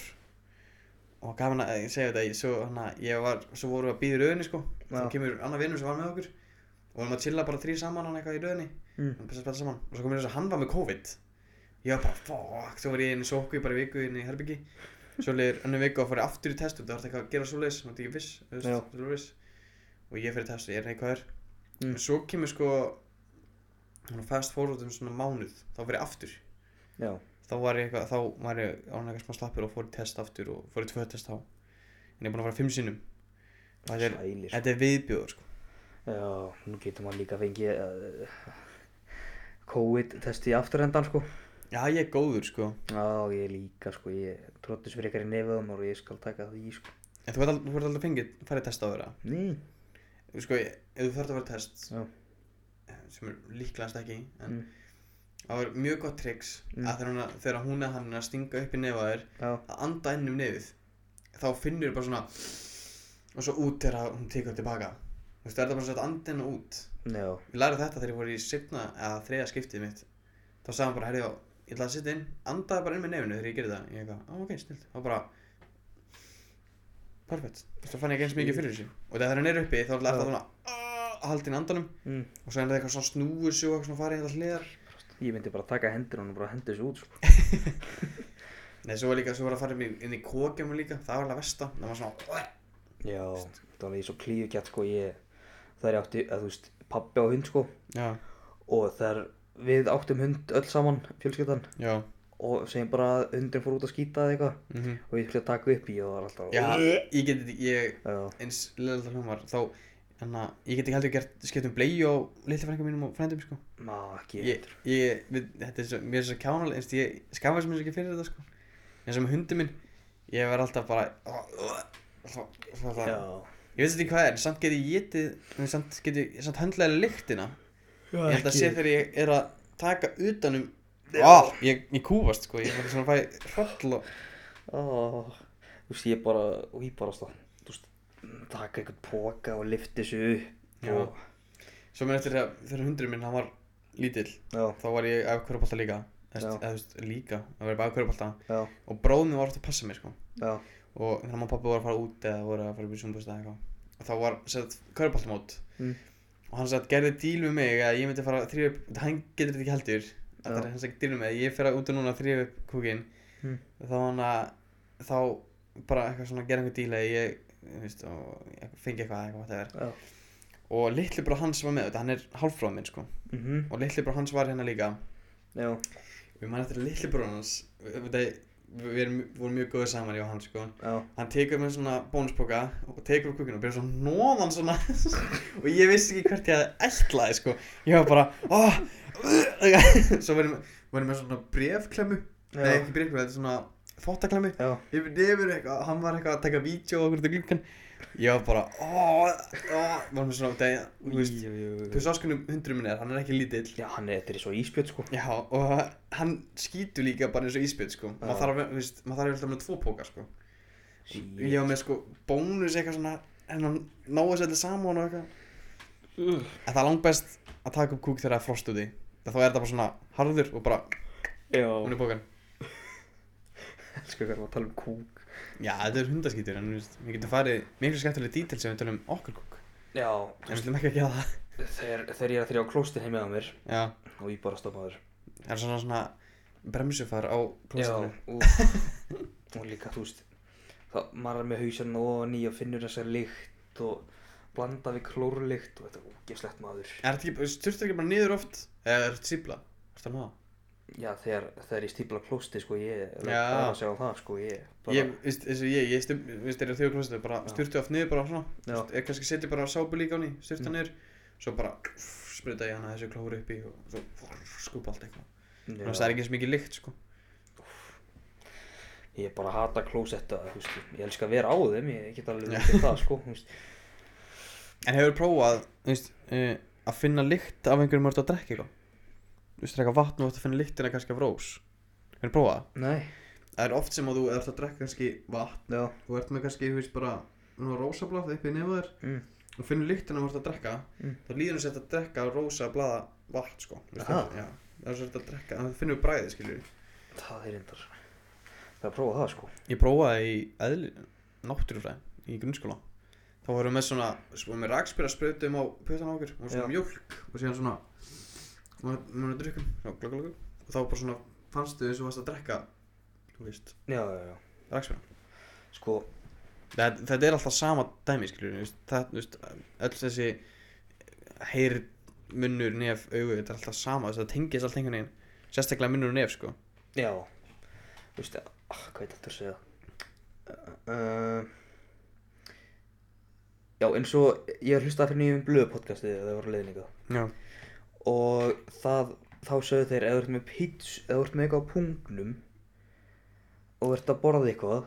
og gaman að ég segja þetta, ég, svo, hana, ég var, svo vorum við að býða í rauninni, sko.
Já.
Þá kemur annar vinur sem var með okkur og vorum að chilla bara þrý saman hann eitthvað í rauninni.
mm,
hann passa að spila saman og svo kom ég þess að hann var með COVID ég var bara fuck svo var ég inn í sóku í bara viku inn í herbyggi svo leiðir önnu viku og fór ég aftur í test og það var eitthvað að gera svo leiðis það var ekki viss, þú
Já.
veist, þú veist, og ég fyrir test og ég er neikvæður
Mm.
mm. svo kemur sko svona fast forward um svona mánuð þá fyrir ég aftur
já,
þá var ég eitthvað þá var ég án eitthvað smá slappur og fór í test aftur og fór í tvö test þá en ég er búin að fara fimm sinnum Og þetta er,
Sælir, sko.
þetta er viðbjóður sko
já, nú getur maður líka fengið uh, COVID-testi í afturhendan sko
já ég er góður sko
Já, ég líka sko, ég tróttis fyrir ykkar í nefiðum og ég skal taka því sko
en þú ert aldrei, aldrei fengið farið test á þeirra
Ný,
Þú þú sko, ég- ef þú þarf að vera test
Já.
sem er líklegast ekki en
Mm.
það var mjög gott triks
Mm.
að þegar hún, að- þegar hún eða hann er að stinga upp í nefa þér
Já,
að anda inn um nefið þá finnur bara svona og svo út þegar hún tekur það tilbaka þú veist, það er það bara svona að anda inn og út
já,
ég lærði þetta þegar ég fór í setna eða þriða skiptið mitt þá sagði hann bara, herri, ég ætla að sitja inn andaði bara inn með nefnu þegar ég gerði það ég eitthvað, á ok, snilt, þá bara perfect, þú veist, þá fann ég ekki eins mikið fyrir þessu og þegar hann er uppi þá er það
Já.
svona að halda inn andanum
mm.
og svo er það eitthvað svona snúið sig og eitthvað svona farið hérna til hliðar
ég myndi bara taka hendur og bara hendur þessu út sko.
nei, svo var líka, svo var að fara inn í- inn í kókjum líka, það var alveg versta það var svona,
Já, það var ég svo klífugjatt sko, ég, það er ég átti, að þú veist, pabbi og hund sko
já,
og þar við áttum hund öll saman, fjölskyldan
já
og segjum bara að hundurinn fór út að skýta eða eitthvað
mm
og ég fyrir að taka upp í og það var alltaf
já, ég get, ég
já,
eins leðalda hljómar þá, þannig að ég get ekki heldur gert skipt um blei og litla frænga mínum og frændum, sko
ná, ekki
ég, ég, við, þetta er svo, mér er svo kjánalega, einst, ég skamast mér svo ekki fyrir þetta, sko. En sem hundi minn, ég verð alltaf bara, svo, svo, svo,
Já,
ég veit ekki hvað er, en samt get ég getið, en samt get ég, samt höndlega lyktina. Ég held að sé þegar ég er að taka utanum, á, ég, ég kúfast, sko, ég verði svona að fæ hroll og,
Ó, þú veist, ég bara, og ég bara stað, þú veist, taka einhvern póka og lifti þessu upp
Já.
og,
svo mér eftir að, þegar hundurinn minn, hann var lítill,
já,
þá var ég af hverjabólta líka, eða,
Já.
eða, þú veist, líka, það var bara af hverjabólta,
já,
og bróðum var ofta að passa mér, sko.
já,
og hérna maður og pappi voru að fara út eða voru að fara upp í sumbústa eða eitthvað og þá var sett körbáltamót
Mm.
og hann sett gerði díl við mig að ég myndi fara að þrýfa upp hann getur þetta ekki heldur þetta er
Já.
hann sett díl við mig að ég fer að út og núna að þrýfa upp kúkin
Mm.
þá hann að þá bara eitthvað svona gera einhver díl að ég þú veist, og ég fengi eitthvað eitthvað whatever.
já,
og litli bara hans var með þetta hann er hálfróð minn sko
mhm,
og litli bara hans var hérna líka
já,
við mann eftir að litli bara hans við, við, við, við vorum mjög góðið saman ég og hann sko
já,
hann tekur með svona bónuspoka og tekur upp kukkinu og byrjar svona nóðan svona og ég vissi ekki hvert ég að ætlaði sko ég var bara oh, svo verðum við með svona brefklemmu nei
Já.
ekki brefklemmu, þetta er svona þvottaklemmu
já,
yfir nefur eitthvað, hann var eitthvað að taka vídeo og okkur til glukkan ég var bara oh, oh, varum við svona deg, þú veist,
Í, jú, jú, jú.
hversu áskunum hundurum minn er, hann er ekki lítill
já, hann er, þetta er svo íspjöld, sko,
Já, og hann skýtur líka bara eins og íspjöld, sko. Maður
Já.
þarf, að- þú veist, maður þarf alltaf með tvo póka, sko.
sí,
Ég var með sko bónus eitthvað svona en hann náði sér allir saman og eitthvað En það er langbest að taka upp kúk þegar það er frost úti Þá er þetta bara svona harður og bara
já,
hún er bókan
elsku hvað var að tala um kúk,
Já, þetta er hundaskýtur en þú veist, við getum farið miklu skemmtileg dítil sem við tölum um okkar kúk
já,
En við slum ekki að gera það
þegar, þegar ég er að þrjá klóstin heim með mér
Já,
og ég bara stoppaður,
það er svona svona bremsufar á
já,
klósetinu
og, og líka, þú veist, það, maður er með hausinn og nýja finnur þessar lykt og blanda við klórlykt og þetta er ógeðslegt maður.
Er þetta ekki, styrst ekki bara niður oft eða er þetta síbla? Er þetta náða?
Já, þegar, þegar ég stípla klósti, sko, ég er
Já.
bara að sjá það, sko, ég bara,
Ég, veist, eins og ég, ég stum, veist, er á því á klósetinu bara
Já.
styrtu oft niður bara svona
já,
er kannski setja bara sápu líka á henni, styrta niður svo bara sprita ég hana þessu klóru uppi og svo skupa allt eitthvað þannig að það er
já,
ekki eins mikið lykt sko
ég bara hata klósetta, þú veist, ég elska að vera á þeim, ég get alveg
Já.
ekki það, sko, þú veist,
en hefur prófað þú veist, uh, að finna lykt af einhverjum mörg að drekka eitthvað þú veist, drekka vatn og þú ert að finna lyktina kannski af rós hefur prófað það?
nei,
það er oft sem að þú ert að drekka kannski vatn
já,
þú ert með kannski, þú veist, bara nú rósablað upp í nefðu þér
mm,
og finnur lyktina mörg að drekka
Mm.
þá líður þess að þetta drekka rósa blaða vatn sko Þú veist,
Aha.
já, það er svolítið að drekka, þannig að finnur bræðið skilur
það er reyndar, það er að prófa það, sko,
Ég prófaði í eðli, náttúrufræði í grunnskóla þá vorum við með svona, vorum við rakspyr að sprautum á pötan á okkur og svona
Já.
mjólk og síðan svona og mjög að drukkum, svona glögg, glögg og þá bara svona fannstu eins og varst að drekka þú veist,
já, já, já,
rakspyr
sko,
þetta, þetta er alltaf sama dæmi, skilur við það, þú veist, öll þessi heyr, munnur, nef, augu þetta er alltaf sama, þú veist, það tengist allt einhvern veginn sérstaklega munnur og nef, sko
já, þú veist, ah, hvað er þetta að segja, uh, já, eins og ég hlustaði fyrir nýjum um blöðu podcastið, það voru leiðningað,
Já,
og það, þá sögðu þeir ef þú ert með píts, ef þú ert með eitthvað á pungnum og ert að borða eitthvað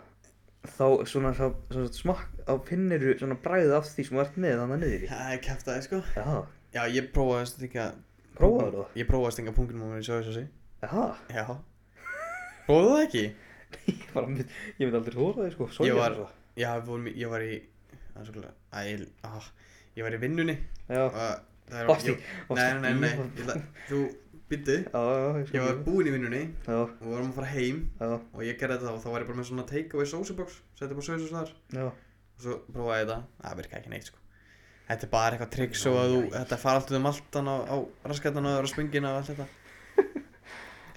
þá svona, þá, svona smakk, þá finniru svona bræðið af því sem þú ert með þannig niður í.
Það er kæft aðeins sko
Já,
Já, ég prófaði að stinga
prófaðu það.
Ég prófaði að stinga punktinu mér í sjóðsjósi
Já,
Já Prófaðu það ekki?
ég bara, mynd, ég myndi aldrei hóra því, sko,
Ég
sója
var- Já, við vorum í- ég var í Það er svolítið Æ, ég- ah, ég var í vinnunni
Já,
og það er-
varst í,
ég-
varst
Nei, nei, nei, nei.
í-
ég ætla- Þú byttu
Já, já, ég
Ég
sko,
var búinn í vinnunni
já,
og við vorum að fara heim
já,
og ég gerði þetta og þá var ég bara með svona take away sósubox setti bara sósus þar
já,
og svo prófaði ég þetta það virka ekki neitt sko þetta er bara eitthvað trygg svo að þú þetta fara allt um allt á, á raskatana og spöngina og allt þetta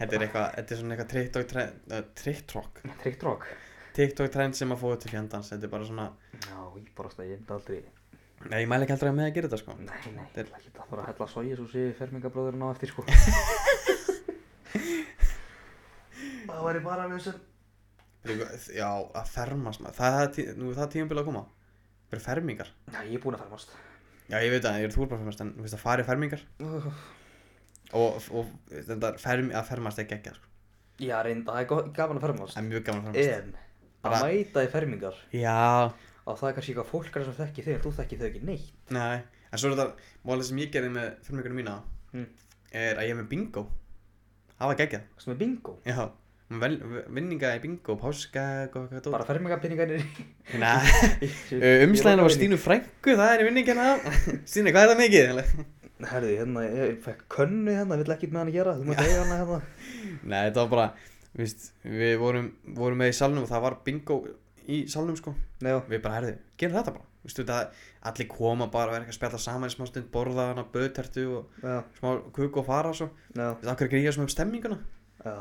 þetta er eitthvað þetta er svona eitthvað TikTok trend uh, TikTok
tryggt rokk.
TikTok trend sem að fóðu til fjandans þetta er bara svona
Já, ég bara stað, ég myndi aldrei,
nei ég mæli ekki aldrei með að gera þetta sko
nei, nei, ég
Þeir-
ætla ekki að fara að hella sója svo séu fermingabróðurinn á eftir, sko. það væri bara með þessum.
Líka- já að fermast maður það, það, er tí- nú er það tímabilið að koma fyrir fermingar
Já, ég er búinn að fermast.
já ég veit að ég er þú er bara að fermast en þú veist að fara í fermingar og, og þetta ferm, að fermast ekki ekki sko.
Já, reynda, það er go- gaman að fermast.
það er mjög gaman að fermast
En, að
Bara-
mæta í fermingar,
já
að það er kannski eitthvað fólk er sem þekki þig, en þú þekki þau ekki neitt.
Nei, en svo er þetta, málið sem ég gerði með filmleikunum mína
Mm.
er að ég er með bingo Það var geggjað,
Sem er bingo.
já með vel- Vinninga í bingo, páska og eitthvað dót
Bara fermingapinningarnir. Eh,
Nei, umslæðina var Stínu Frænku, það er í vinningina Stínu, hvað er það mikið? Eller?
Herði, hérna, ég fekk könnu hérna, vill ekkert með hann að gera, þú mátt eiga hana hérna.
Nei, þetta var bara, víst, við vorum, vorum með í salnum og það var bingo í salnum sko
Já,
Við bara, herði, gerum þetta bara Vistu, það, Allir koma bara, verður eitthvað að spjalla saman í smá stund, borða hana, böðtertu og
já,
smá kuk og fara svo
já,
Þú veist, okkur ekki ég sem um stemminguna
já,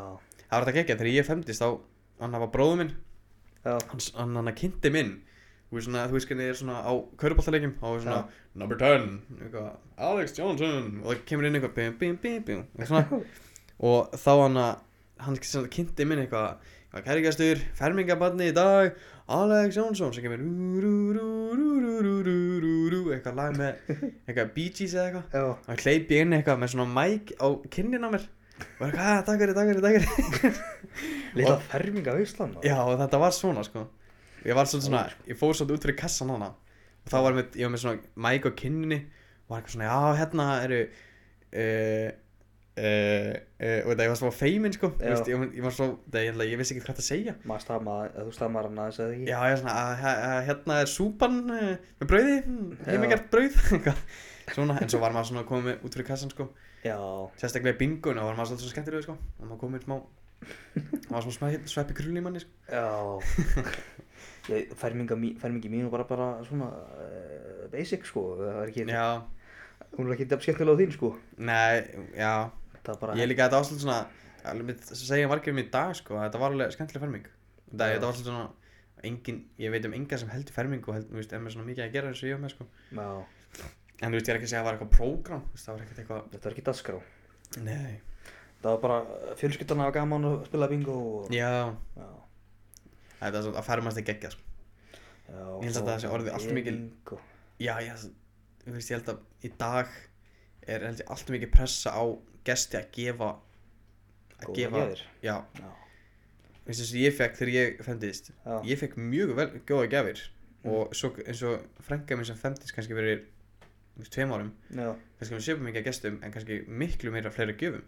Það var þetta gekkja, þegar ég femdist þá, hann hafa bróðu minn,
já,
hann, hann, hann kynnti minn, þú veist svona, þú veist hvernig er svona á kauruboltalegjum, þá er svona, number 10, eitthvað, Alex Johnson, og það kemur inn eitthvað, bim, bim, bim, bim, eitthvað svona, og þá hann að, hann sem sagt kynnti minn eitthvað, eitthvað kærgastur, fermingabarni í dag, Alex Johnson, sem kemur, rú, rú, rú, rú, rú, rú, rú, rú, rú, eitthvað lag með, eitthvað Bee Gees eða eitthvað,
já,
og hann hleypi inn eitthvað með svona mæk á kinnina á mér, og er eitthvað, "Ah, takk fyrir, takk fyrir, takk fyrir,
lilla fermingaveislan. maður.
Já, og þetta var svona, sko Ég var svolítið svona, ég fór svolítið út fyrir kassan hana Og þá var með, ég var með svona mæk á kinninni Og var eitthvað svona, já, hérna eru uh, uh, uh, Og þetta, ég var svo feimin, sko
Já.
Þú veist, ég, var- ég var svo, það, ég, ég vissi ekki hvað það segja
Maður stamaði, eða þú stamaði hann aðeins eða ekki.
Já, ég var svona, að, að, að, hérna er súpan uh, Með brauði, heimingart brauð eitthvað. Svona, en svo var maður svona komið með út fyrir kassan, sko
Já,
Sérstaklega í binguna var maður svolítið svona skemmtilega, sko Og maður komið smá Maður var svona sveppi krull í manni, sko
já. Ég, ferminga, mí- fermingi mín var bara, bara svona uh, basic, sko. Það er ekki,
Já,
hún er ekki jafn skemmtilega á þín, sko.
nei, já
Það er bara,
Ég líka þetta var svolítið svona alveg mitt, sem segja margir um í dag sko að þetta var alveg skemmtileg ferming þetta,
Já.
þetta var svolítið svona engin, ég veit um engan sem heldur ferming og held, þú veist, er með svona mikið að gera eins og ég á með sko
já,
en þú veist, ég er ekki að segja að það var eitthvað prógram þú veist, það var ekkert eitthvað,
þetta er ekki dagskrá.
nei,
Það var bara, eh, fjölskyldan hafa gaman að spila bingo og,
já
já.
þetta er svona að fermast ekki ekki sko
Já,
Ég held að
og
það sé orðið allt mikil-
bingo.
já, já, þú veist, ég held að í dag er held ég alltaf mikið pressa á gesti að gefa að
Góðar
gefa,
gjafir.
já,
Já,
þú veist, eins og ég fekk þegar ég femdist
já, Mm.
ég fekk mjög vel góða gjafir og svo, eins og frænka minn sem femtist kannski fyrir þú veist, tveim árum
já,
kannski við sjöfum mikið að gestum en kannski miklu meira fleiri gjöfum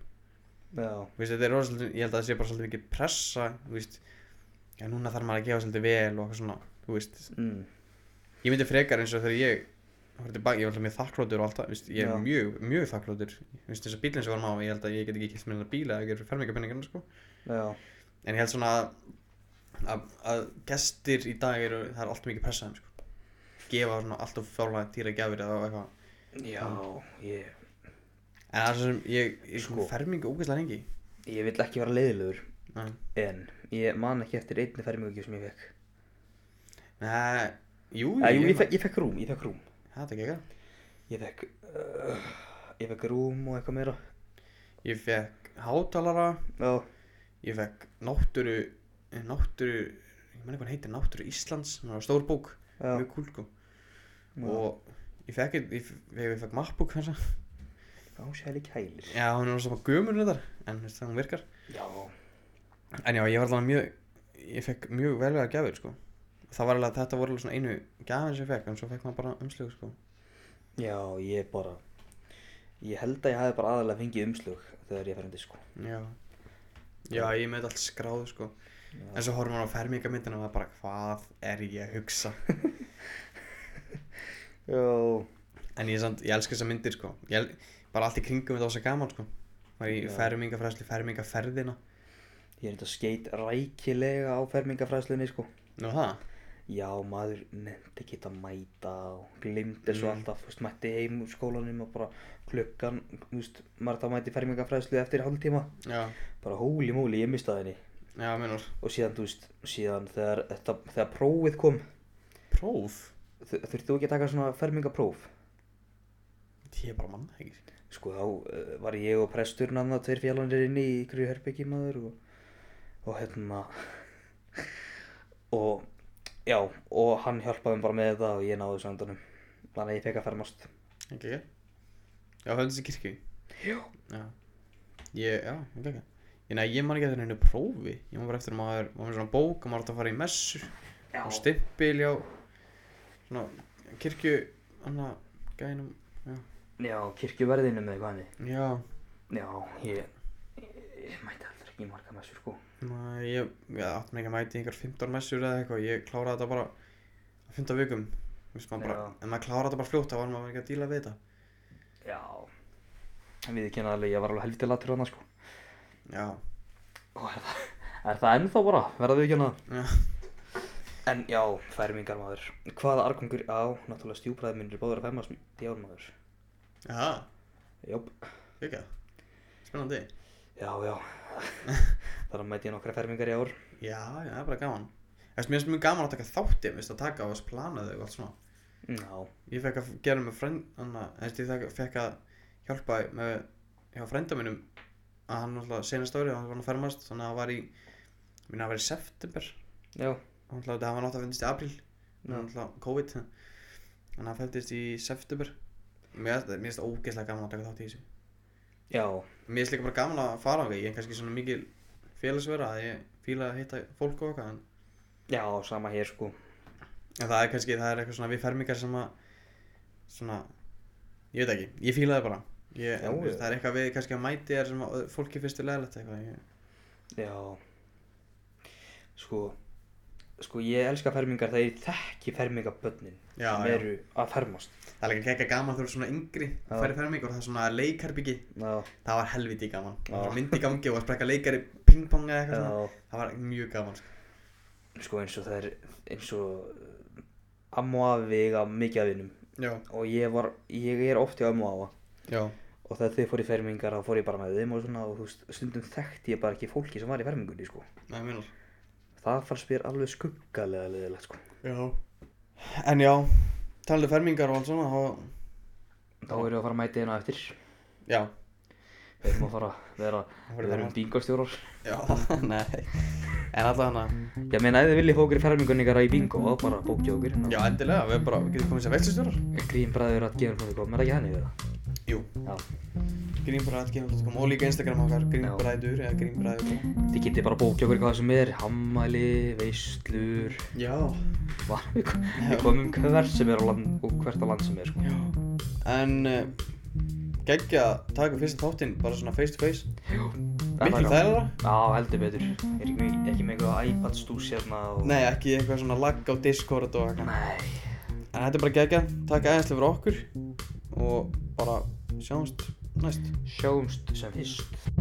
já,
Þú veist, þetta er rosalega, ég held að það sé bara svolítið mikið pressa þú veist, já núna þarf maður að gefa svolítið vel og eitthvað svona þú veist,
mm,
ég myndi frekar eins og þegar ég horfði tilbaka, ég var alltaf mjög þakklótur og allt það, þú veist, ég er
Já.
mjög, mjög þakklótur þú veist, eins og bílinn sem var má, ég held að ég get ekki kilt mér hennar bíla eða gerur fermingapenningarna sko
já,
en ég held svona að, að, að gestir í dag eru, það er alltaf mikið pressaðum sko. gefa svona alltaf fjárlega dýra gjafir eða eitthvað
já, ég,
en það er svo sem ég, ég
Sko.
sko. fermingu ógeðslega lengi
ég vill ekki vera leiðilegur,
nei,
en ég man ekki eftir einni fermingugjöf sem ég fekk.
nei jú,
Æ, jú, ég, fekk, ég fekk rúm, ég fekk rúm.
það er ekki eitthvað
Ég fekk, uh, ég fekk rúm og eitthvað meira.
ég fekk hátalara
Já,
ég fekk náttúru eh, náttúru, ég man ekki hvað hann heitir náttúru Íslands, það var stór bók
Já.
mjög kúl sko
Já.
og ég fekk, ég, ég, ég fekk mappbók hans að,
ásæli kælir.
já hún er svona gömur þetta, en þú veist, það hún virkar
Já,
En já, ég var alveg mjög, ég fekk mjög velvega gjafir sko það var alveg þetta voru alveg svona einu gafin sem ég fekk en svo fekk maður bara umslög sko
Já, ég bara Ég held að ég hafi bara aðalega fengið umslug þegar ég fer um disko
já já ég með allt skráð sko en svo horfum maður á fermingamindina og maður bara hvað er ég að hugsa
Já,
en ég, samt, ég elska þessar myndir sko ég, el- bara allt í kringum þetta var svo gaman sko var í
Já.
fermingafræðslu fermingaferðina
ég er þetta skeit rækilega á fermingafræðslunni sko
nú það
Já, maður nefndi ekki að mæta og glimti svo
Mm.
alltaf, þú veist, mætti heim úr skólanum og bara klukkan, þú veist, maður það mætti í fermingafræðslu eftir hálftíma,
já
bara hóli móli, ég mistaði henni
já minnur
og síðan, þú veist, síðan þegar, þetta, þegar prófið kom,
próf
þur- þurfti þú ekki að taka svona fermingapróf?
ég bara manna ekki
Sko, þá uh, var ég og presturinn annað tveir fjallanir inni í ykkur herbyggi maður og, og hérna, og já, og hann hjálpaði mér bara með þetta og ég náði þessu andanum, þannig að ég fekk að fermast.
ekki ekki já höfðu þessi kirkju
Já.
já ég já ekki ekki ég nei ég man ekki eftir hennu prófi ég man bara eftir að maður maður er með svona bók og maður átt að fara í messu
Já.
og stimpil já svona kirkju annað gænum
Já, kirkjuverðinu með eitthvað henni.
já
Já, ég, ég, ég mæti aldrei ekki í marga messur sko.
Nei, ég, ég átti mig ekki að mæta í einhver 15 messur eða eitthvað, ég kláraði þetta bara á 15 vikum, Vist, maður bara,
Já.
en maður kláraði þetta bara fljótt, þá var maður ekki að díla við þetta.
Já. Við ekki alveg, ég var alveg helviti latur hann sko.
Já,
Og er það, er það ennþá bara, verða við ekki hann að.
já,
En já, fermingar maður. Hvaða argangur á, náttúrulega stjúbræði minn er báður að fermast í ár maður.
já,
Jáp.
ekki, spennandi.
Já, já. Þar að mæti ég nokkra fermingar í ár.
Já, já, það er bara gaman. Þess, mér finnst mjög gaman að taka þátti, mér finnst að taka á þess planaðu og allt svona.
Já.
Ég fekk að gera með frend, anna, þess, ég fekk- fekk að hjálpa með, hjá frenda mínum, að hann náttúrulega senast árið, hann var að fermast, þannig að hann var í, minna að vera í september,
Já.
hann hlaði, hann var náttúrulega að finnast í apríl, Það er náttúrulega COVID Þannig að hann fældist í september Mér finnst- mér finnst ógeðslega gaman að taka þátt í þessu
Já.
Mér finnst líka bara gaman að fara á því Ég er kannski svona mikil félagsvera að ég fíla að hitta fólk og eitthvað en,
Já, sama hér sko.
en það er kannski, það er eitthvað svona við fermingar sem að Svona, ég veit ekki, ég fíla það bara ég,
Já,
þú veist,
já.
Það er eitthvað við kannski að mæti er sem að ö- fólki fyrstu leðalegt eitthvað ég,
Já. Sko. Sko, ég elska fermingar þegar ég þekki fermingabönnin.
Já,
sem
já.
eru að fermast
Það er líka ekki gaman þegar þú eru svona yngri
Já.
og færi fermingar og það er svona leikarbyggi
Já,
Það var helviti gaman, það var
Já.
myndi gangi og að sprekka leikari pingpong eða eitthvað svona
já,
Það var mjög gaman sko.
sko eins og það er eins og uh, amma og afi eiga mikið af vinum
Já,
og ég var, ég er oft í amma og afa
já,
og þegar þau fór í fermingar þá fór ég bara með þeim og svona og þú veist, stundum þekkti ég bara ekki fólki sem var í fermingunni sko
það er minnar
það fannst mér alveg skuggalega leðilegt sko
Já En já, talaðu fermingar og allt svona þá...
þá erum við að fara að mæta hérna eftir
Já,
við erum að fara að vera,
verður
við erum
gaman.
bingostjórar
já, nei En alltaf hana
ég meina ef þið viljið fá okkur í fermingunni ykkar í bingo þá bara bókja okkur
Já, endilega, við bara, við getum komið sem vextustjórar
grín bræður að gefa hún kom, er það ekki henni við það?
Jú,
Já,
grínbræðatgefn.com og líka Instagram okkar, grínbræður eða grínbræður
þið getið bara bókja okkur hvað sem er, hammæli, veislur,
Já,
var, við, kom, við komum hver sem er á land, og hvert á land sem er sko.
já En uh, geggja að taka fyrsta þáttinn bara svona face to face
Það
Miklu
það
þægilega
Já, heldur betur Er ekki, með- ekki með eitthvað iPad stús hérna og...
Nei, ekki eitthvað svona lagg á Discord og eitthvað
Nei
En þetta er bara geggja, taka aðeinslega fyrir okkur og bara sjáumst næst
Sjáumst sem fyrst